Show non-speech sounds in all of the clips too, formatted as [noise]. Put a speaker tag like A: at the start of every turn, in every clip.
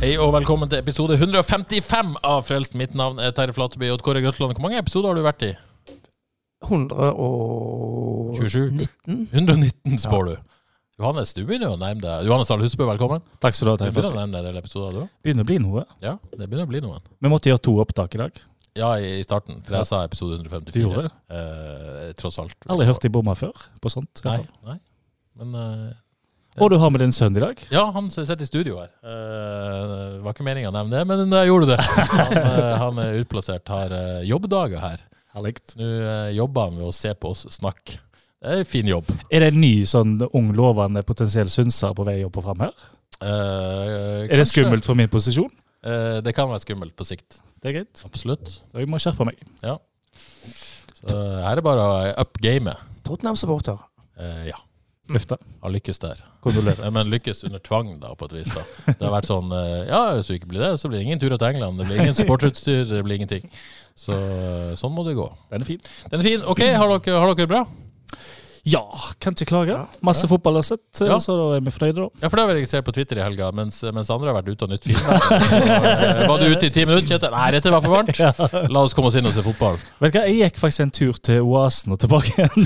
A: Hei og velkommen til episode 155 av Frelst. Mitt navn er Terje Flateby. Og Kåre Grøtland, hvor mange episoder har du vært i?
B: 127.
A: 119, spår du. Johannes, du begynner jo å nærme deg Johannes Dahl Husbø, velkommen.
C: Takk skal du ha.
A: Du
C: Terje
A: begynner å
C: Flatby.
A: nærme deg en del episoder, du òg?
C: Begynner å bli noe.
A: Ja, det begynner å bli noen.
C: Vi måtte gjøre to opptak i dag.
A: Ja, i i starten, for jeg sa episode 154.
C: Du gjorde det?
A: Eh, tross alt.
C: Aldri hørt de bomma før på sånt. i
A: Nei,
C: hvert fall.
A: nei. Men eh,
C: Og du har med din sønn i dag.
A: Ja, han som sitter i studio her. Eh, det var ikke meninga å nevne det, men jeg gjorde det. [laughs] Han, eh, han er utplassert, har eh, jobbdager her. Nå eh, jobber han ved å se på oss snakke. Det er en fin jobb.
C: Er det en ny sånn ung, lovende potensiell synser på vei opp og fram her?
A: Eh,
C: Er det
A: kanskje.
C: skummelt for min posisjon?
A: Eh, det kan være skummelt på sikt.
C: Det er greit.
A: Absolutt.
C: Så jeg må skjerpe meg.
A: Så her er det bare å up gamet.
B: Tottenham-supporter.
A: Eh, ja.
C: Løfte.
A: Har lykkes der.
C: Kondolerer.
A: Eh, Men lykkes under tvang, da, på et vis. da. Det har vært sånn eh, Ja, hvis du ikke blir det, så blir det ingen turer til England. Det blir ingen supporterutstyr, det blir ingenting. Så eh, sånn må det gå.
C: Den er fin.
A: Den er fin. OK, har dere, har dere det bra?
C: Ja, kan ikke klage. Masse fotball har sett,
A: Ja.
C: så da er vi fornøyde, da.
A: Ja, for det har vi registrert på Twitter i helga, mens, mens andre har vært ute og nytt film. Eh, Var du ute i ti minutter, Kjetil? Nei, dette var for
C: [laughs]
A: varmt. La oss komme oss inn og se fotball.
C: Vet du hva, jeg gikk faktisk en tur til Oasen og tilbake igjen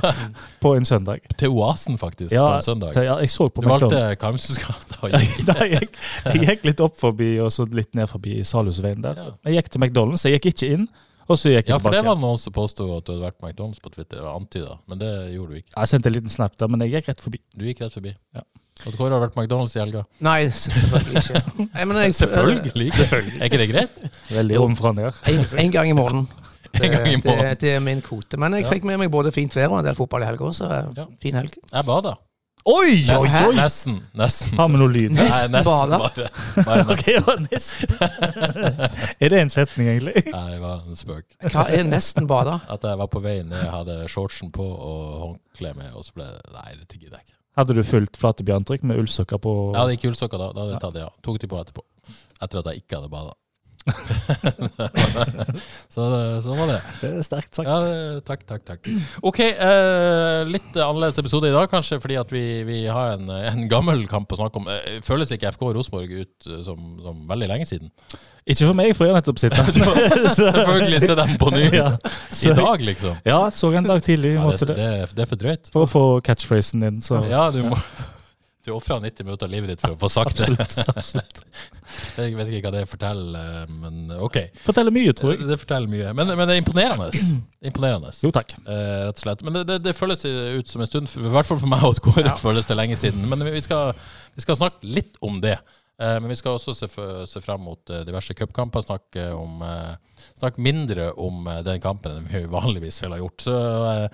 C: [laughs] på en søndag.
A: Til Oasen, faktisk, på en søndag.
C: til- ja, jeg så på
A: Du
C: McDonald's.
A: valgte Karmsensgata og gikk
C: [laughs] Nei, jeg, jeg gikk litt opp forbi og så litt ned forbi Salhusveien der.
A: Ja.
C: Jeg gikk til McDonald's, jeg gikk ikke inn, og så gikk jeg
A: Ja, for det
C: tilbake.
A: var noen som påsto at du hadde vært på McDonald's på Twitter, og antyda, men det gjorde du ikke.
C: Jeg sendte en liten snap der, men jeg gikk rett forbi.
A: Du gikk rett forbi.
C: Ja.
A: Og Kåre har vært på McDonald's i helga.
B: Nei, s- selvfølgelig ikke. [laughs] Nei, men jeg,
A: Er ikke det greit?
C: Veldig
B: Jo.
C: ovenfra og ned.
B: eh, En, en gang i måneden.
A: [laughs]
B: Det,
A: En gang i
B: det,
A: måneden.
B: det er min kvote. Men jeg
A: Ja.
B: fikk med meg både fint vær og en del fotball i helga, så eh,
A: Ja.
B: fin helg.
A: Jeg bada.
C: Oi, oi,
A: Nesten.
C: oi!
A: Nesten. nesten.
C: Har vi noe lyd?
B: Nei. Nesten bada.
A: bare. bare
C: [laughs] Ok,
A: nesten.
C: [laughs] ja, nesten. er det en setning, egentlig?
A: Nei, det var en spøk.
B: Hva er nesten bada?
A: At jeg var på vei ned, hadde shortsen på og håndkle med, og så ble det Nei, dette gidder jeg ikke.
C: Hadde du fulgt Flatebjørntrykk med ullsokker på
A: Jeg hadde ikke ullsokker da. Da hadde jeg tatt det, ja. Tok de på etterpå. Etter at jeg ikke hadde bada. [laughs] så det- sånn var det.
C: Det er sterkt sagt.
A: Ja, det- takk, takk, takk. Ok, eh, litt annerledes episode i dag, kanskje, fordi at vi, vi har en, en gammel kamp å snakke om. Eh, Føles ikke FK Rosenborg ut eh, som, som veldig lenge siden?
C: Ikke for meg, for jeg har nettopp sittet
A: [laughs] Selvfølgelig se dem på ny
C: [laughs] Ja,
A: i
C: så-
A: dag, liksom.
C: Ja, så en dag tidlig.
A: Ja,
C: måtte det.
A: det, det, er- det er for drøyt.
C: For å få catchphrasen din, så
A: Ja, du må [laughs] Du ofra 90 minutter av livet ditt for å få sagt det.
C: absolutt. absolutt.
A: [laughs] Jeg vet ikke hva det forteller, eh, men OK.
C: Forteller mye, tror jeg.
A: Det forteller mye. Men, men det er
C: [clears throat]
A: imponerende. Imponerende.
C: Jo, takk.
A: Eh, rett og slett. Men det, det, det føles ut som en stund, for, i hvert fall for meg og Kåre føles det lenge siden. Men vi skal, vi skal snakke litt om det. Eh, men vi skal også se, f- se fram mot eh, diverse cupkamper. Snakke, om, eh, snakke mindre om eh, den kampen enn vi vanligvis ville ha gjort. Så, eh,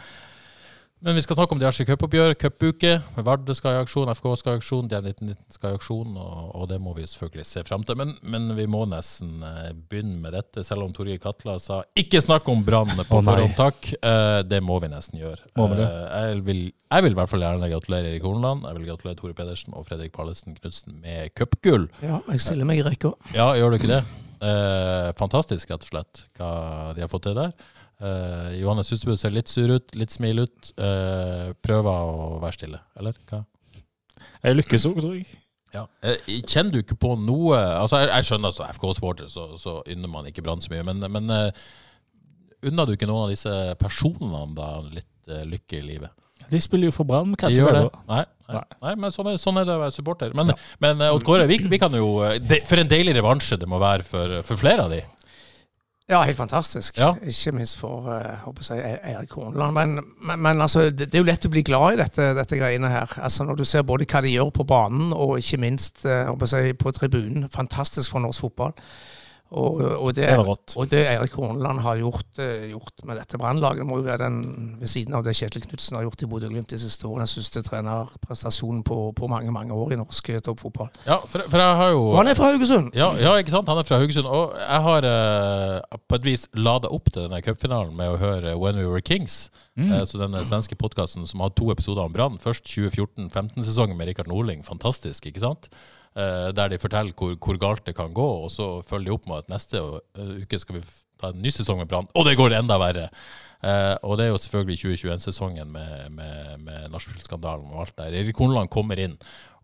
A: men vi skal snakke om diverse cupoppgjør, cupuke. Vard skal i aksjon, FK skal i aksjon, DN1919 skal i aksjon, og, og det må vi selvfølgelig se fram til. Men, men vi må nesten eh, begynne med dette, selv om Torgeir Katla sa 'ikke snakk om Brann' på
C: Å, nei.
A: forhånd, takk. Eh, det må vi nesten gjøre.
C: Må vi det?
A: Eh, jeg, vil, jeg vil i hvert fall gjerne gratulere Erik Horneland, jeg vil gratulere Tore Pedersen og Fredrik Pallesen Knutsen med cupgull.
B: Ja, jeg stiller meg i rekka.
A: Ja, gjør du ikke det? Eh, fantastisk, rett og slett, hva de har fått til der. Eh, Johannes Husebø ser litt sur ut, litt smil ut. Eh, prøver å være stille, eller? Hva?
C: Jeg lykkes òg, tror jeg.
A: Eh, kjenner du ikke på noe Altså, Jeg, jeg skjønner som FK-sporter, så, så unner man ikke Brann så mye, men, men eh, unner du ikke noen av disse personene da litt eh, lykke i livet?
C: De spiller jo for Brann. hva
A: De
C: skal
A: gjør
C: det
A: det.
C: da?
A: Nei, nei,
C: Nei.
A: nei men sånn er, sånn er det å være supporter. Men, men eh, Odd Kåre, vi, vi kan jo eh, det- For en deilig revansje det må være for, for flere av de.
B: Ja, helt fantastisk.
A: Ja.
B: Ikke minst for eh, håper jeg, E- Erik Horneland. Men, men, men altså, det, det er jo lett å bli glad i dette, dette greiene her. Altså, Når du ser både hva de gjør på banen, og ikke minst eh, håper jeg, på tribunen. Fantastisk for norsk fotball. Og, og det,
C: Det var rått.
B: og det Eirik Horneland har gjort, eh, gjort med dette brannlaget, må jo være den ved siden av det Kjetil Knutsen har gjort i Bodø-Glimt de siste årene. Den siste trenerprestasjonen på, på mange mange år i norsk eh, toppfotball.
A: Ja, for, for jeg har jo
B: Og han er fra Haugesund!
A: Ja, ja, ikke sant? Han er fra Haugesund. Og jeg har eh, på et vis lada opp til denne cupfinalen med å høre When We Were Kings. Eh, så denne svenske podkasten som har to episoder om Brann. Først 2014-15-sesongen med Rikard Norling. Fantastisk, ikke sant? Eh, der de forteller hvor, hvor galt det kan gå, og så følger de opp med at neste eh, uke skal vi f- ta en ny sesong med Brann, og det går enda verre! Eh, og det er jo selvfølgelig 2021-sesongen med, med, med nachspiel-skandalen og alt der. Erik Horneland kommer inn.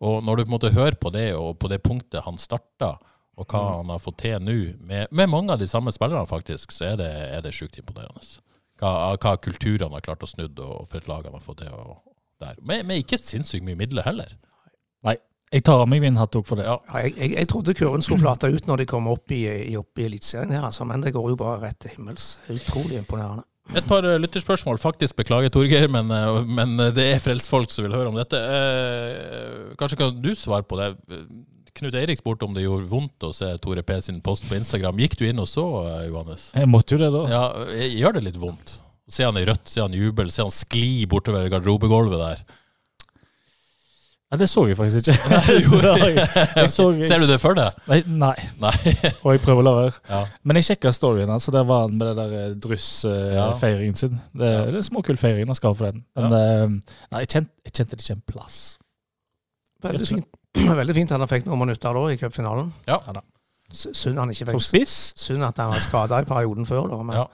A: Og når du på en måte hører på det, og på det punktet han starta, og hva han har fått til nå, med, med mange av de samme spillerne faktisk, så er det, er det sjukt imponerende. Hva, hva kulturen har klart å snudd, og for et lag han har fått til. og der. Men, men ikke sinnssykt mye midler heller.
C: Nei, jeg tar av meg min hatt òg for det.
A: Ja.
B: Ja, jeg, jeg, jeg trodde kurven skulle flate ut når de kom opp i, i, opp i Eliteserien, her, altså, men det går jo bare rett til himmels. Utrolig imponerende.
A: Et par eh, lytterspørsmål. Faktisk, beklager, Torgeir, men, eh, men eh, det er frelstfolk som vil høre om dette. Eh, Kanskje kan du svare på det. Knut Eirik spurte om det gjorde vondt å se Tore P sin post på Instagram. Gikk du inn og så, eh, Johannes?
C: Jeg måtte jo det, da.
A: Ja, eh, gjør det litt vondt. Se han i rødt, se han jubel, se han skli bortover garderobegulvet der.
C: Nei, det så jeg faktisk ikke.
A: [laughs]
C: Så da har [laughs] jeg, jeg så,
A: Ser du det for deg?
C: Nei, nei,
A: Nei.
C: og jeg prøver å la være.
A: Ja.
C: Men jeg sjekka storyen hans, og der var han med det der eh,
A: Ja.
C: dryss-feiringen sin. Det,
A: Ja.
C: det er småkul feiring han skal ha for den. Men eh, nei, jeg kjente, jeg kjente det ikke en plass.
B: Veldig fint, [clears throat] Veldig fint han fikk noen minutter da i cupfinalen.
A: Ja.
C: Ja da.
B: S- Synd han ikke
C: Som
B: fikk
C: spiss?
B: Synd at han var skada i perioden før, da. Men
A: Ja.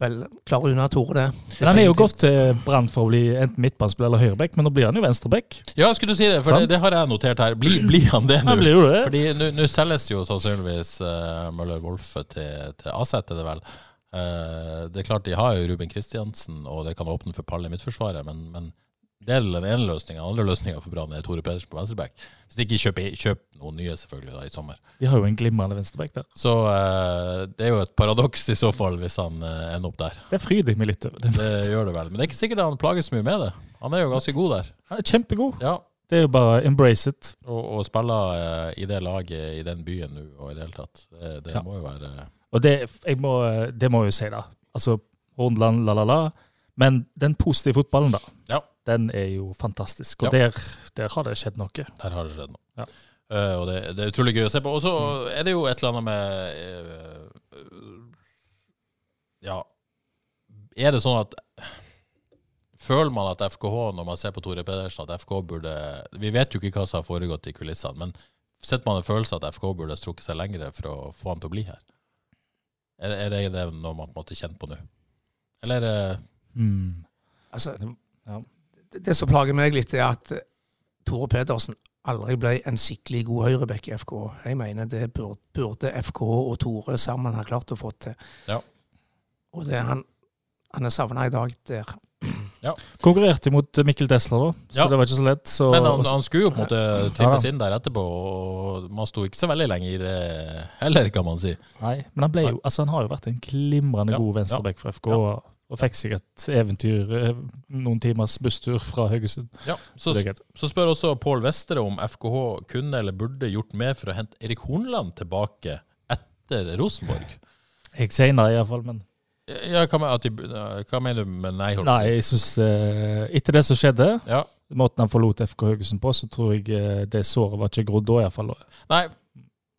B: vel, klarer unna Tore det.
C: Men han er jo godt til Brann for å bli enten midtbanespiller eller høyreback, men nå blir han jo venstreback.
A: ja, skulle du si det, for
C: Sant. Mm.
A: det, det har jeg notert her. Blir blir han det nå?
C: Han blir jo det.
A: Fordi nå nå selges jo sannsynligvis eh, Møller-Wolfe til, til AZ, er det vel. Eh, det er klart de har jo Ruben Kristiansen, og det kan åpne for pall i midtforsvaret, men, men det er den ene løsninga. Den andre løsninga for Brann er Tore Pedersen på venstreback. Hvis de ikke kjøper, kjøper noen nye, selvfølgelig, da, i sommer.
C: De har jo en glimrende venstreback der.
A: Så eh, det er jo et paradoks i så fall, hvis han eh, ender opp der.
C: Det fryder jeg meg litt over. Det-
A: Det gjør det vel. Men det er ikke sikkert han plages så mye med det. Han er jo ganske god der.
C: Han er kjempegod.
A: Ja,
C: Det er jo bare embrace it.
A: Og, og spiller eh, i det laget i den byen nå og i det hele tatt. Det, det
C: Ja.
A: må jo være eh,
C: Og det, jeg må, det må jeg jo si, da. Altså, Hornland, la, la, la. Men den positive fotballen, da.
A: Ja.
C: Den er jo fantastisk. Og der, der har det skjedd noe.
A: Der har det skjedd noe.
C: Ja.
A: Eh, og det, det er utrolig gøy å se på. Og så er det jo et eller annet med eh, Ja. Er det sånn at Føler man at FKH, når man ser på Tore Pedersen, at FK burde Vi vet jo ikke hva som har foregått i kulissene, men sitter man en følelse at FK burde strukket seg lengre for å få han til å bli her? Er, er det det noe man på en måte kjenner på nå? Eller eh, er det
C: Mm.
B: Altså,
C: Ja.
B: det- Det som plager meg litt, er at Tore Pedersen aldri ble en skikkelig god høyreback i FK. Jeg mener det burde, burde FK og Tore sammen ha klart å få til.
A: Ja.
B: Og det er han, han er savna i dag der.
C: Konkurrerte mot Mikkel Tesla, da, så
A: Ja.
C: det var ikke så lett. Så,
A: Men han,
C: og så-
A: han skulle jo på en måte
C: Ja,
A: trimmes
C: da.
A: inn der etterpå, og man sto ikke så veldig lenge i det heller, kan man si.
C: nei, men han, ble jo, altså, han har jo vært en glimrende
A: Ja.
C: god venstreback for FK. Og, og fikk seg et eventyr, eh, noen timers busstur fra Haugesund.
A: Ja, så,
C: Så det er greit.
A: så spør også Pål Vestre om FKH kunne eller burde gjort mer for å hente Erik Hornland tilbake etter Rosenborg.
C: Jeg sier nei, iallfall, men
A: Ja, hva, men- at de, hva mener du med nei? holdt
C: Nei,
A: jeg
C: jeg
A: på å si?
C: syns eh, Etter det som skjedde,
A: Ja.
C: måten han forlot FK Haugesund på, så tror jeg eh, det såret var ikke grodd da, iallfall.
A: Nei.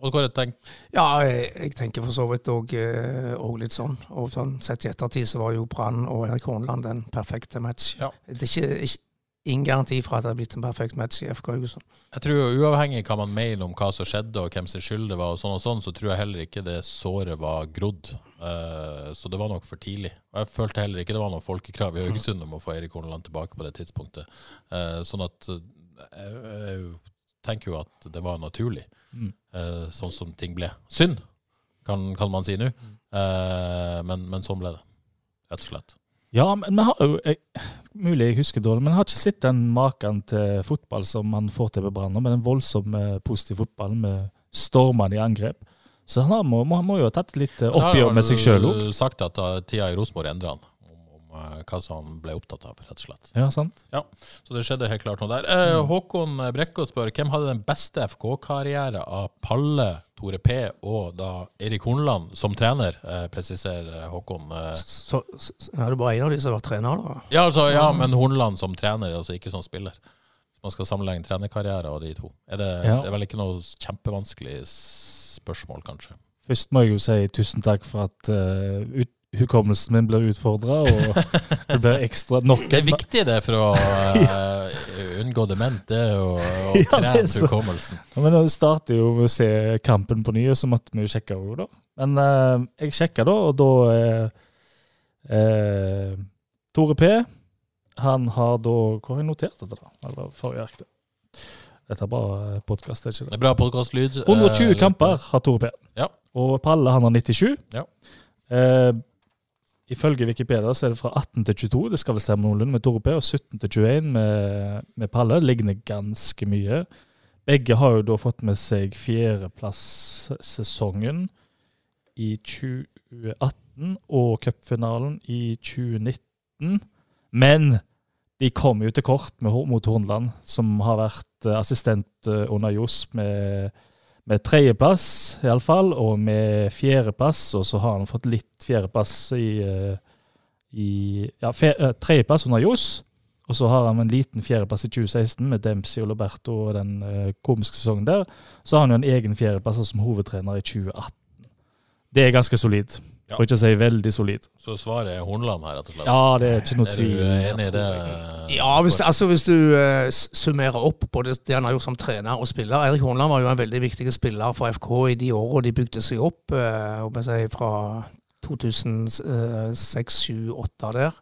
A: Og Kåre, tenk,
B: Ja, jeg, jeg tenker for så vidt òg litt sånn. Og sånn Sett i ettertid så var jo Brann og Erik Horneland en perfekte match.
A: Ja.
B: Det er ikke, ikke ingen garanti for at det er blitt en perfekt match i FK Haugesund.
A: jeg tror jo uavhengig hva man mener om hva som skjedde og hvem sin skyld det var, og sånn og sånn, så tror jeg heller ikke det såret var grodd. Eh, så det var nok for tidlig. Og jeg følte heller ikke det var noe folkekrav i Haugesund om å få Erik Horneland tilbake på det tidspunktet. Eh, sånn at eh, jeg, jeg tenker jo at det var naturlig,
C: Mm.
A: eh, sånn som ting ble. Synd, kan, kan man si nå. Eh, men, men sånn ble det, rett og slett.
C: Ja, men vi har jo jeg, Mulig jeg husker dårlig, men jeg har ikke sett den maken til fotball som han får til med Brann nå, med den voldsomme positive fotballen eh, med stormene i angrep. Så han har, må, må, han må jo ha tatt et litt eh,
A: Men da har
C: oppgjør med seg sjøl òg.
A: eh, Han har sagt at uh, tida i Rosenborg endra han. Om, om eh, hva som han ble opptatt av, rett og slett.
C: Ja, sant?
A: Så det skjedde helt klart noe der. Eh,
C: Mm.
A: Håkon Brekkå spør hvem hadde den beste FK-karriere av Palle, Tore P og da Erik Hornland som trener, eh, presiserer Håkon. Eh,
B: Så, så, så er det bare en av de som har vært trener, da?
A: ja, altså, ja,
C: Mm.
A: men Hornland som trener, altså ikke som spiller. Man skal sammenligne trenerkarriere og de to. Er det,
C: Ja.
A: det er vel ikke noe kjempevanskelig spørsmål, kanskje.
C: Først må jeg jo si tusen takk for at eh, ut, hukommelsen min blir utfordra, og det blir ekstra nok
A: Det er
C: en-
A: viktig det for å
C: [laughs]
A: eh, unngå dement, det er å, å
C: Ja, det er
A: trene
C: så-
A: hukommelsen.
C: Ja, Men det starter jo med å se kampen på ny, og så måtte vi jo sjekke òg, da. Men eh, jeg sjekka da, og da eh, eh, Tore P. Han har da Hvor har jeg notert dette, da? Eller forrige ark, da. Dette er bare podkast, er ikke
A: Det
C: det?
A: er bra podkastlyd. eh,
C: 120
A: litt-
C: kamper har Tore P.
A: Ja.
C: Og Palle, han har 97.
A: Ja.
C: Eh, ifølge Wikipedia så er det fra 18 til 22, det skal vel stemme noenlunde, med Tore P, og 17 til 21 med, med Palle. Det ligner ganske mye. Begge har jo da fått med seg fjerdeplass-sesongen i 2018 og cupfinalen i 2019. Men de kom jo til kort med, Hor- mot Hornland, som har vært eh, assistent eh, under Johs med med tredjeplass, iallfall, og med fjerdeplass. Og så har han fått litt fjerdeplass i, eh, i Ja, fe- eh, tredjeplass under Johs. Og så har han en liten fjerdeplass i 2016 med Dempsey og Loberto og den eh, komiske sesongen der. Så har han jo en egen fjerdeplass som hovedtrener i 2018. Det er ganske solid.
A: Ja.
C: For ikke å si veldig solid.
A: Så svaret er Hornland her, rett og slett.
C: Ja, det er ikke noe
A: Er du eh,
C: tvil.
A: enig i det?
B: Ja, hvis, altså hvis du eh, s- summerer opp både det han har gjort som trener og spiller Erik Hornland var jo en veldig viktig spiller for FK i de årene de bygde seg opp, eh, om jeg sier fra eh, 2006-2008 der.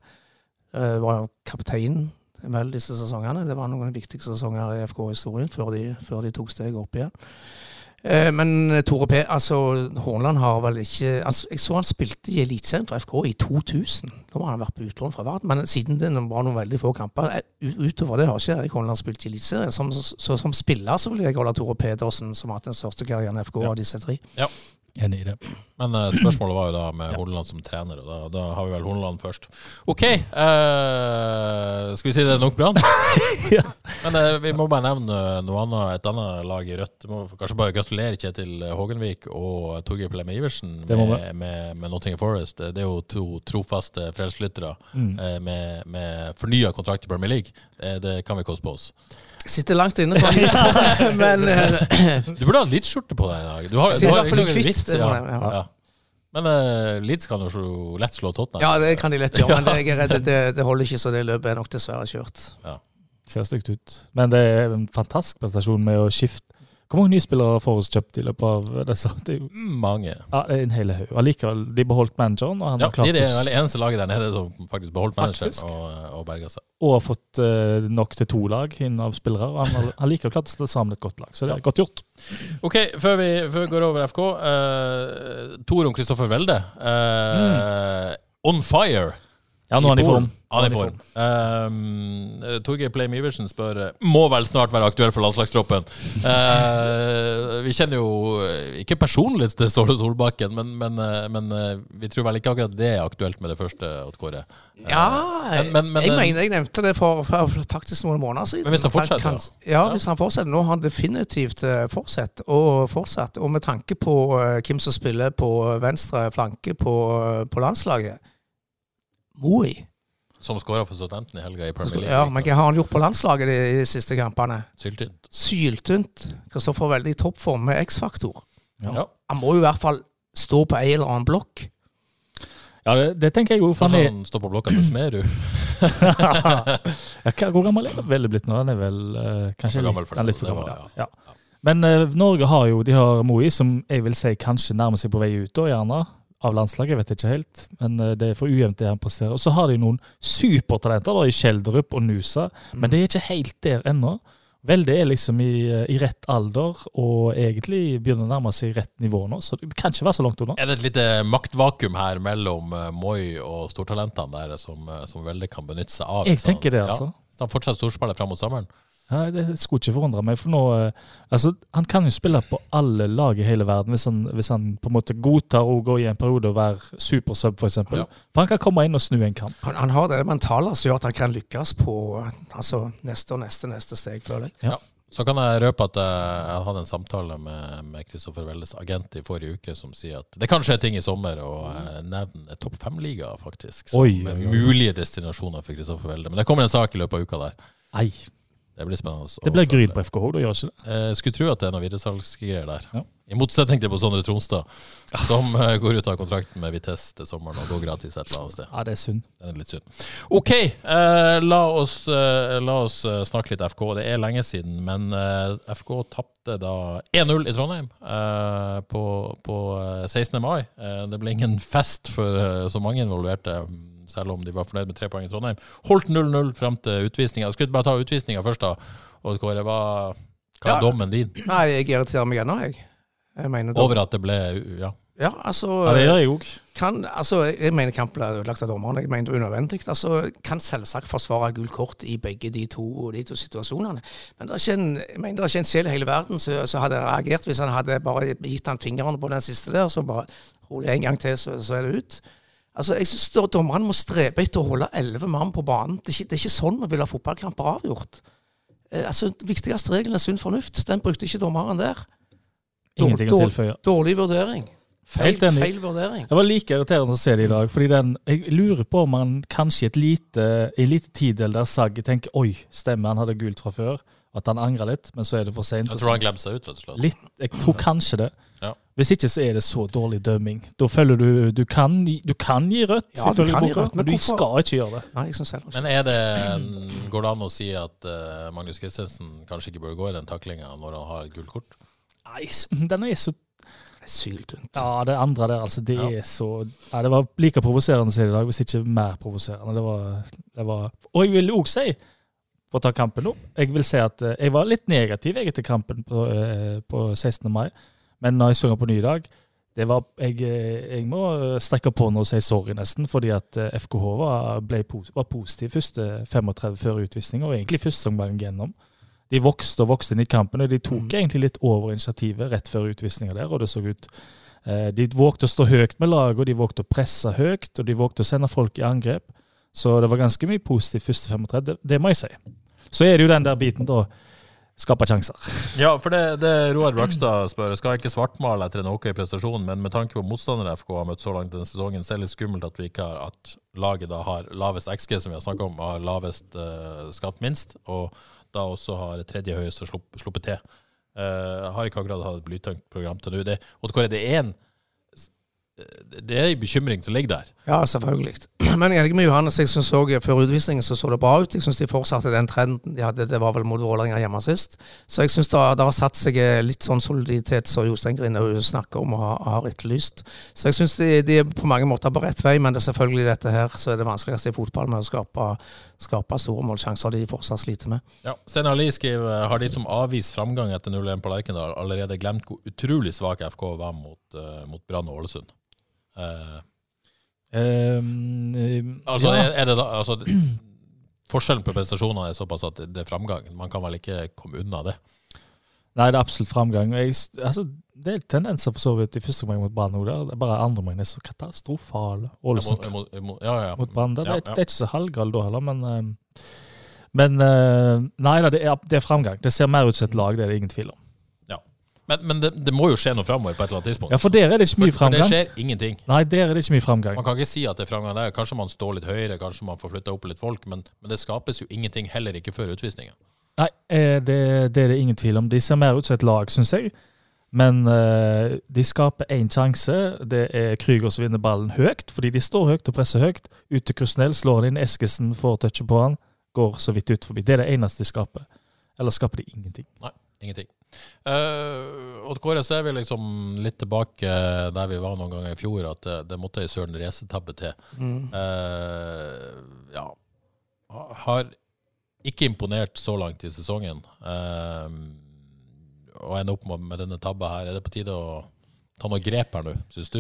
B: Eh, var kaptein vel disse sesongene. Det var noen av de viktigste sesonger i FK-historien før, de- før de tok steget opp igjen. Eh, Men Tore P, altså Hornland har vel ikke altså, Jeg så han spilte i Eliteserien for FK i 2000. Da har han vært på utlån fra verden, men siden det var noen veldig få kamper eh, u- Utover det har ikke Erik Hornland spilt i Eliteserien. Som, så, som spiller så vil jeg holde Tore Pedersen, som har hatt den største karrieren i FK av disse tre.
C: Enig i det.
A: Men eh, spørsmålet var jo da med Hornland som trener, og da, da har vi vel Hornland først. OK, eh, skal vi si det er nok
B: [laughs]
A: Brann? Men eh, vi må bare nevne eh, noe annet, et annet lag i Rødt. Må kanskje bare gratulere Kjetil Hågenvik og Torgeir Plemme Iversen
C: Det må
A: med, med, med Nottingham Forest. Det er jo to trofaste frelseslyttere
B: Mm.
A: eh, med, med fornya kontrakt i Premier League. Det, det kan vi koste på oss.
B: Sitter langt inne, for han, [laughs] men eh,
A: Du burde ha en Leeds-skjorte på deg i dag. Du har,
B: Jeg
A: du
B: sier
A: har
B: i hvert fall
A: ikke noen
B: kvitt,
A: vits,
B: det må jeg-
A: ja.
B: ja.
A: Ja. Men eh, Leeds kan jo så lett slå Tottenham.
B: Ja, det kan de lett gjøre, men det, jeg er redd det, det holder ikke, så det løpet er nok dessverre kjørt.
C: Ser stygt ut. Men det er en fantastisk prestasjon med å skifte Hvor mange nyspillere har Forrest kjøpt i løpet av det? Så det er jo
A: Mange.
C: Ja, det er en hel haug. Allikevel, de beholdt manageren, og han
A: Ja,
C: har
A: de
C: klart
A: er det
C: å s-
A: vel eneste laget der nede som faktisk beholdt manageren
C: Faktisk.
A: og, og berga seg.
C: og har fått eh, nok til to lag inn av spillere. og Han har allikevel klart å stille sammen et godt lag, så det er godt gjort.
A: OK, før vi, før vi går over FK. Uh, Tor om Kristoffer Welde.
C: Mm.
A: Eh, On fire!
C: Ja, nå er han i form.
A: Han er i form. Eh, Torgeir Pleim Iversen spør eh, Må vel snart være aktuell
C: [laughs]
A: for landslagstroppen. Eh, vi kjenner jo eh, ikke personlig til Ståle Solbakken, men, men, eh, men eh, vi tror vel ikke akkurat det er aktuelt med det første. Odd Kåre. Eh,
B: Ja,
A: men- men- men-
B: jeg mener jeg nevnte det for, for faktisk noen måneder siden.
A: Men hvis han fortsetter,
B: kan, ja, hvis han fortsetter. Nå har han definitivt eh, fortsatt og fortsatt. Og med tanke på eh, hvem som spiller på eh, venstre flanke på, eh, på landslaget Moi.
A: Som skåra for Southampton i helga i
B: Så
A: Premier
B: skulle-
A: League.
B: Ja, men hva har han gjort på landslaget de, de siste kampene?
A: Syltynt.
B: Syltynt. Kristoffer er veldig i toppform med X-faktor.
A: Ja.
B: Han må jo i hvert fall stå på ei eller annen blokk.
C: Ja, det, det tenker jeg òg, for han
A: Kanskje
C: er
A: han står på blokka til Smerud.
C: [clears throat] [laughs] ja, hva- Hvor gammel er han vel blitt nå? Han er vel eh, kanskje
A: For gammel for
C: litt, han er litt for
A: det, det
C: gammel.
A: var-
C: ja. Ja. Men eh, Norge har jo de har Moi, som jeg vil si kanskje nærmer seg på vei ut, da, gjerne. Av landslaget, jeg vet ikke helt. Men eh, det er for ujevnt, det han presterer. Og så har de noen supertalenter da, i Skjelderup og Nusa, men
A: Mm.
C: det er ikke helt der ennå. Velde er liksom i, eh, i rett alder, og egentlig begynner å nærme seg rett nivå nå, så det kan ikke være så langt unna.
A: Er det et lite maktvakuum her mellom eh, Moi og stortalentene der som, eh, som Velde kan benytte seg av?
C: Jeg
A: hvis han-
C: tenker det, altså.
A: Ja, hvis han fortsatt storspiller fram mot sommeren?
C: Ja, det skulle ikke forundre meg. for nå, eh, altså, Han kan jo spille på alle lag i hele verden hvis han, hvis han på en måte godtar å gå i en periode og være supersub, f.eks. For, eksempel.
A: Ja.
C: for han kan komme inn og snu en kamp.
B: Han, han har det mentale som gjør at han kan lykkes på eh, altså, neste og neste neste steg, føler jeg.
A: Så kan jeg røpe at jeg, jeg hadde en samtale med, med Kristoffer Welles agent i forrige uke, som sier at det kan skje ting i sommer, og eh, nevner topp fem-liga, faktisk. Som
C: Oi,
A: er
C: oi, oi.
A: mulige destinasjoner for Kristoffer Welde. Men det kommer en sak i løpet av uka der.
C: Nei,
A: Det blir spennende. å
C: det blir
A: følge.
C: Gryd på FKH, da gjør ikke det?
A: Eh, skulle tro at det er noen videresalgsgreier der.
C: Ja.
A: I motsetning til på Sondre Tronstad, som eh, går ut av kontrakten med Vitesse til sommeren og går gratis et eller annet sted.
C: Ja, det er synd.
A: Det er litt synd. OK, eh, la oss, eh, la oss eh, snakke litt FK. Det er lenge siden, men eh, FK tapte da 1-0 i Trondheim eh, på, på eh, 16. mai. Eh, det ble ingen fest for eh, så mange involverte, mm, selv om de var fornøyd med tre poeng i Trondheim. Holdt 0-0 fram til utvisninga. Skal vi bare ta utvisninga først, da? Odd Kåre, hva, hva er
B: Ja.
A: dommen din?
B: Nei, jeg irriterer meg ennå, jeg. Jeg mener da-
A: Over at det ble Ja.
B: Ja, altså,
C: Ja, det gjør jeg òg.
B: kan, altså Jeg mener kampen ble ødelagt av dommeren. Jeg mener det var unødvendig. Altså, kan selvsagt forsvare gult kort i begge de to, de to situasjonene. Men det er ikke en, jeg mener det er ikke en sjel i hele verden som som hadde reagert hvis han hadde bare gitt han fingeren på den siste der, så bare rolig en gang til, så, så er det ut. Altså, jeg synes da Dommerne må strebe etter å holde elleve mann på banen. Det er ikke, det er ikke sånn vi vil ha fotballkamper avgjort. Eh, altså, Den viktigste regelen er sunn fornuft. Den brukte ikke dommeren der.
C: Ingenting å
B: Dårlig-
C: tilføye.
B: Dårlig vurdering. Feil,
C: Helt enig.
B: feil vurdering.
C: Det var like irriterende å se det i dag. fordi den, Jeg lurer på om han kanskje i et lite, i en liten tidel der Sagge tenker oi, stemmer han hadde gult fra før, at han angrer litt, men så er det for seint.
A: Jeg tror han glemte seg ut, rett og slett.
C: Litt, jeg tror kanskje det.
A: Ja.
C: Hvis ikke så er det så dårlig dømming. Da føler du du kan, du kan gi rødt,
B: Ja, du
C: ifølge
B: kan gi
C: boka,
B: rødt, men
C: du
B: hvorfor-
C: skal ikke gjøre det.
B: Nei, jeg synes heller ikke.
A: Men er det, en- går det an å si at eh, Magnus Christensen kanskje ikke bør gå i den taklinga når han har et gult kort?
C: Nei, s- [laughs] den er så
B: Det er syltynt.
C: Ja, det andre der, altså. Det
A: Ja.
C: er så ja, Det var like provoserende som i dag, hvis ikke mer provoserende. Det var, det var Og jeg vil òg si, for å ta kampen opp, jeg vil si at eh, jeg var litt negativ jeg, etter kampen på, eh, på 16. mai, men når jeg så den på ny i dag det var, jeg, eh, jeg må strekke på nå og si sorry, nesten, fordi at eh, FKH var, ble, pos- var positiv første 35 før utvisning, og egentlig første omgang gjennom. De vokste og vokste inn i kampen, og de tok egentlig litt over initiativet rett før utvisninga der, og det så ut Eh, De vågte å stå høyt med laget, og de vågte å presse høyt, og de vågte å sende folk i angrep. Så det var ganske mye positivt første 35, det, det må jeg si. Så er det jo den der biten, da. Skape sjanser.
A: Ja, for det, det Roar Brakstad spør, skal jeg ikke svartmale etter en OK prestasjon, men med tanke på motstandere FK har møtt så langt denne sesongen, så er det litt skummelt at vi ikke har at laget da har lavest XG, som vi har snakket om, og har lavest eh, skatt minst, og da også har tredje høyeste slupp, sluppet til. Eh, har ikke akkurat hatt et blytungt program til nå. Det, Odd Kåre, det er en eh, det er en bekymring som ligger der.
B: Ja, selvfølgelig. [clears throat] Men jeg er enig med Johannes. Jeg synes også Før utvisningen så, så det bra ut. Jeg syns de fortsatte den trenden de hadde. Det var vel mot Vålerenga hjemme sist. Så jeg syns det, har- det har satt seg eh, litt sånn soliditet som Jostein Grine snakker om og har, har etterlyst. Så jeg syns de, de er på mange måter på rett vei, men det er selvfølgelig dette her så er det vanskeligste i fotball med å skape, skape store målsjanser de fortsatt sliter med.
A: Ja, Sten Ali skriver har de som avviser framgang etter 0-1 på Lerkendal, allerede glemt hvor utrolig svak FK var mot, eh, mot Brann og Ålesund. Eh, altså,
C: Ehm, eh, ja.
A: er, er det da, altså, [clears throat] det- forskjellen på prestasjonene er såpass at det er framgang. Man kan vel ikke komme unna det.
C: Nei, det er absolutt framgang. Jeg, s- altså, det er tendenser for så vidt i første omgang mot Brann. nå, der. Det er Bare andre omgang er så katastrofale. Ålesund
A: Jeg må- jeg må- ja, ja, ja.
C: mot Brann. Det,
A: Ja,
C: det,
A: ja.
C: det er ikke så halvgalt da heller, men eh, Men eh, Nei da, det er, det er framgang. Det ser mer ut som et lag, det er det ingen tvil om.
A: Men, men det, det må jo skje noe framover på et eller annet tidspunkt.
C: Ja, For der er det ikke
A: For-
C: mye
A: for det
C: framgang.
A: skjer ingenting.
C: Nei, der er det ikke mye framgang.
A: Man kan ikke si at det er framgang der. Kanskje man står litt høyere, kanskje man får flytta opp litt folk, men, men det skapes jo ingenting heller ikke før utvisninga.
C: Nei, eh, det, det er det ingen tvil om. De ser mer ut som et lag, syns jeg. Men eh, de skaper én sjanse. Det er Krüger som vinner ballen høyt, fordi de står høyt og presser høyt. Ut til Krusnell, slår han inn. Eskesen får touchet på han, går så vidt ut forbi. Det er det eneste de skaper. Eller skaper de ingenting.
A: Ingenting. Eh, Odd Kåre, så er vi liksom litt tilbake der vi var noen ganger i fjor, at det, det måtte ei søren racetabbe til.
B: Mm.
A: Eh, ja. Har ikke imponert så langt i sesongen. Eh, og ender opp med, med denne tabba her. Er det på tide å ta noe grep her nå, syns du?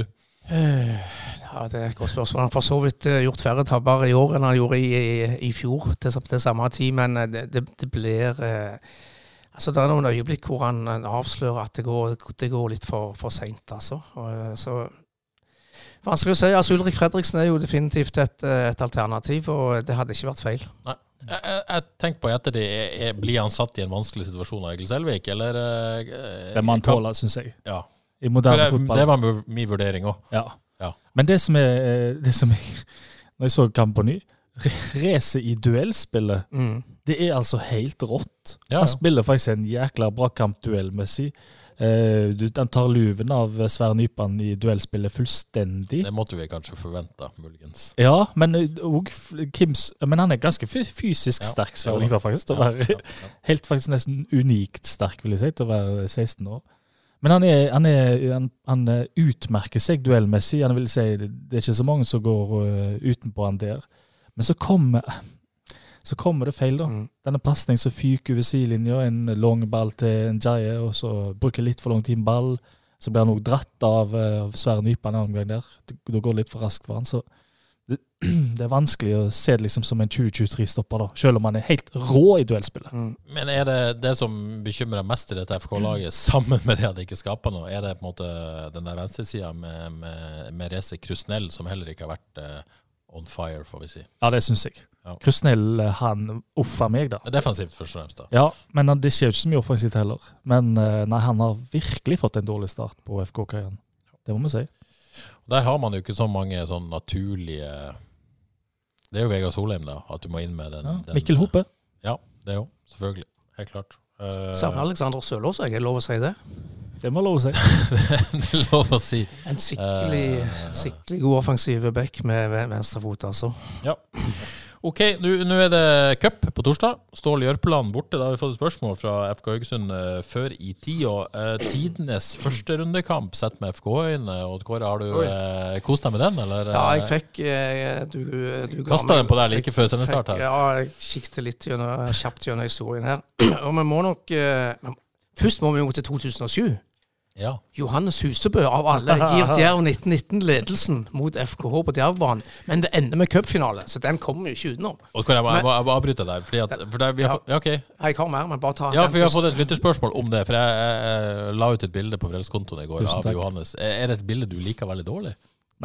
B: Eh, Ja, Ja, det er et godt spørsmål. Han har for så vidt eh, gjort færre tabber i år enn han gjorde i, i, i fjor til, sam- til samme tid, men eh, det, det, det blir eh, Altså, Det er noen øyeblikk hvor han eh, avslører at det går, det går litt for, for seint, altså. Og, eh, så Vanskelig å si. altså Ulrik Fredriksen er jo definitivt et, eh, et alternativ, og det hadde ikke vært feil.
A: Jeg, jeg, jeg tenker på i ettertid, er- er- blir han satt i en vanskelig situasjon av Egil Selvik, eller eh,
C: Det må han tåle, syns jeg.
A: Ja.
C: I
A: For
C: moderne
A: det,
C: fotball.
A: det var mu- min vurdering òg.
C: Ja.
A: Ja.
C: Men det som er eh, [laughs] det som jeg, Når jeg så kampen på ny Racet i duellspillet,
B: Mm,
C: det er altså helt rått.
A: Ja, ja.
C: Han spiller faktisk en jækla bra kamp duellmessig. Eh, du- han tar luven av eh, Sverre Nypan i duellspillet fullstendig.
A: Det måtte vi kanskje forvente, muligens.
C: Ja, men, eh, og, f- Kims, men han er ganske fy- fysisk
A: Ja,
C: sterk,
A: jo
C: Sverre
A: da.
C: Nypan, faktisk. Til å
A: Ja,
C: være
A: ja, ja.
C: [laughs] helt faktisk nesten unikt sterk, vil jeg si, til å være 16 år. Men han, er, han, er, han, han eh, utmerker seg duellmessig. Han vil si, Det er ikke så mange som går eh, utenpå han der. Men så kommer, så kommer det feil, da.
B: Mm.
C: Denne pasningen som fyker over sidelinja, en lang ball til Njaye, og så bruker litt for lang tid med ball. Så blir han også dratt av, eh, av Sverre Nypan en annen gang der. Det- Da går det litt for raskt for han, så det, [clears throat] det er vanskelig å se det liksom som en 2023-stopper, da. Selv om han er helt rå i duellspillet.
B: mm.
A: Men er det det som bekymrer mest i dette FK-laget, [laughs] sammen med det at det ikke skaper noe, er det på en måte den der venstresida med, med, med Reze Krusnell, som heller ikke har vært eh, on fire, får vi si.
C: Ja, det syns jeg.
A: Ja.
C: Krusnell, eh, han uffa meg, da.
A: Det er Defensivt, først og fremst. da.
C: Ja, men han, det skjer jo ikke så mye offensivt heller. Men eh, nei, han har virkelig fått en dårlig start på FK-karrieren. Det må vi si.
A: Og Der har man jo ikke så mange sånn naturlige Det er jo Vegard Solheim, da, at du må inn med den.
C: Ja.
A: den
C: Mikkel Hoppe.
A: Ja, det er jo. Selvfølgelig. Helt klart. Eh, [laughs]
B: Savner Alexander Sølås, jeg er lov å si det.
C: Det må love seg.
A: det er lov å si.
B: En skikkelig,
A: Eh.
B: skikkelig god offensiv back med ve- venstrefot, altså.
A: Ok, nå nå er det cup på torsdag. Stål Jørpeland borte. Da har vi fått et spørsmål fra FK Haugesund eh, før i tida. Uh, tidenes første rundekamp sett med FK-øyne. Odd Kåre, har du eh, kost deg med den, eller?
B: Ja, jeg fikk eh, Du, du ga
A: Kastet
B: meg-
A: den på deg like
B: jeg
A: før sendestart her.
B: fikk- Ja, jeg kikket litt gjennom, kjapt gjennom historien her. [clears throat] Og vi må nok eh, men Først må vi jo til 2007.
A: Ja.
B: Johannes Husebø av alle gir Djerv 1919 ledelsen mot FKH på Djervbanen. Men det ender med cupfinale, så den kommer vi jo ikke utenom.
A: Odd Kåre, jeg må, jeg må, jeg må avbryte der. Fordi at, for der, vi har,
B: Ja.
A: fått- ja, ok.
B: Jeg har mer, men bare ta
A: Ja,
B: den
A: for vi har
B: først.
A: fått et lytterspørsmål om det. For jeg, jeg, jeg la ut et bilde på Frelseskontoen i går
C: Tusen
A: av
C: takk.
A: Johannes. Er er det et bilde du liker veldig dårlig?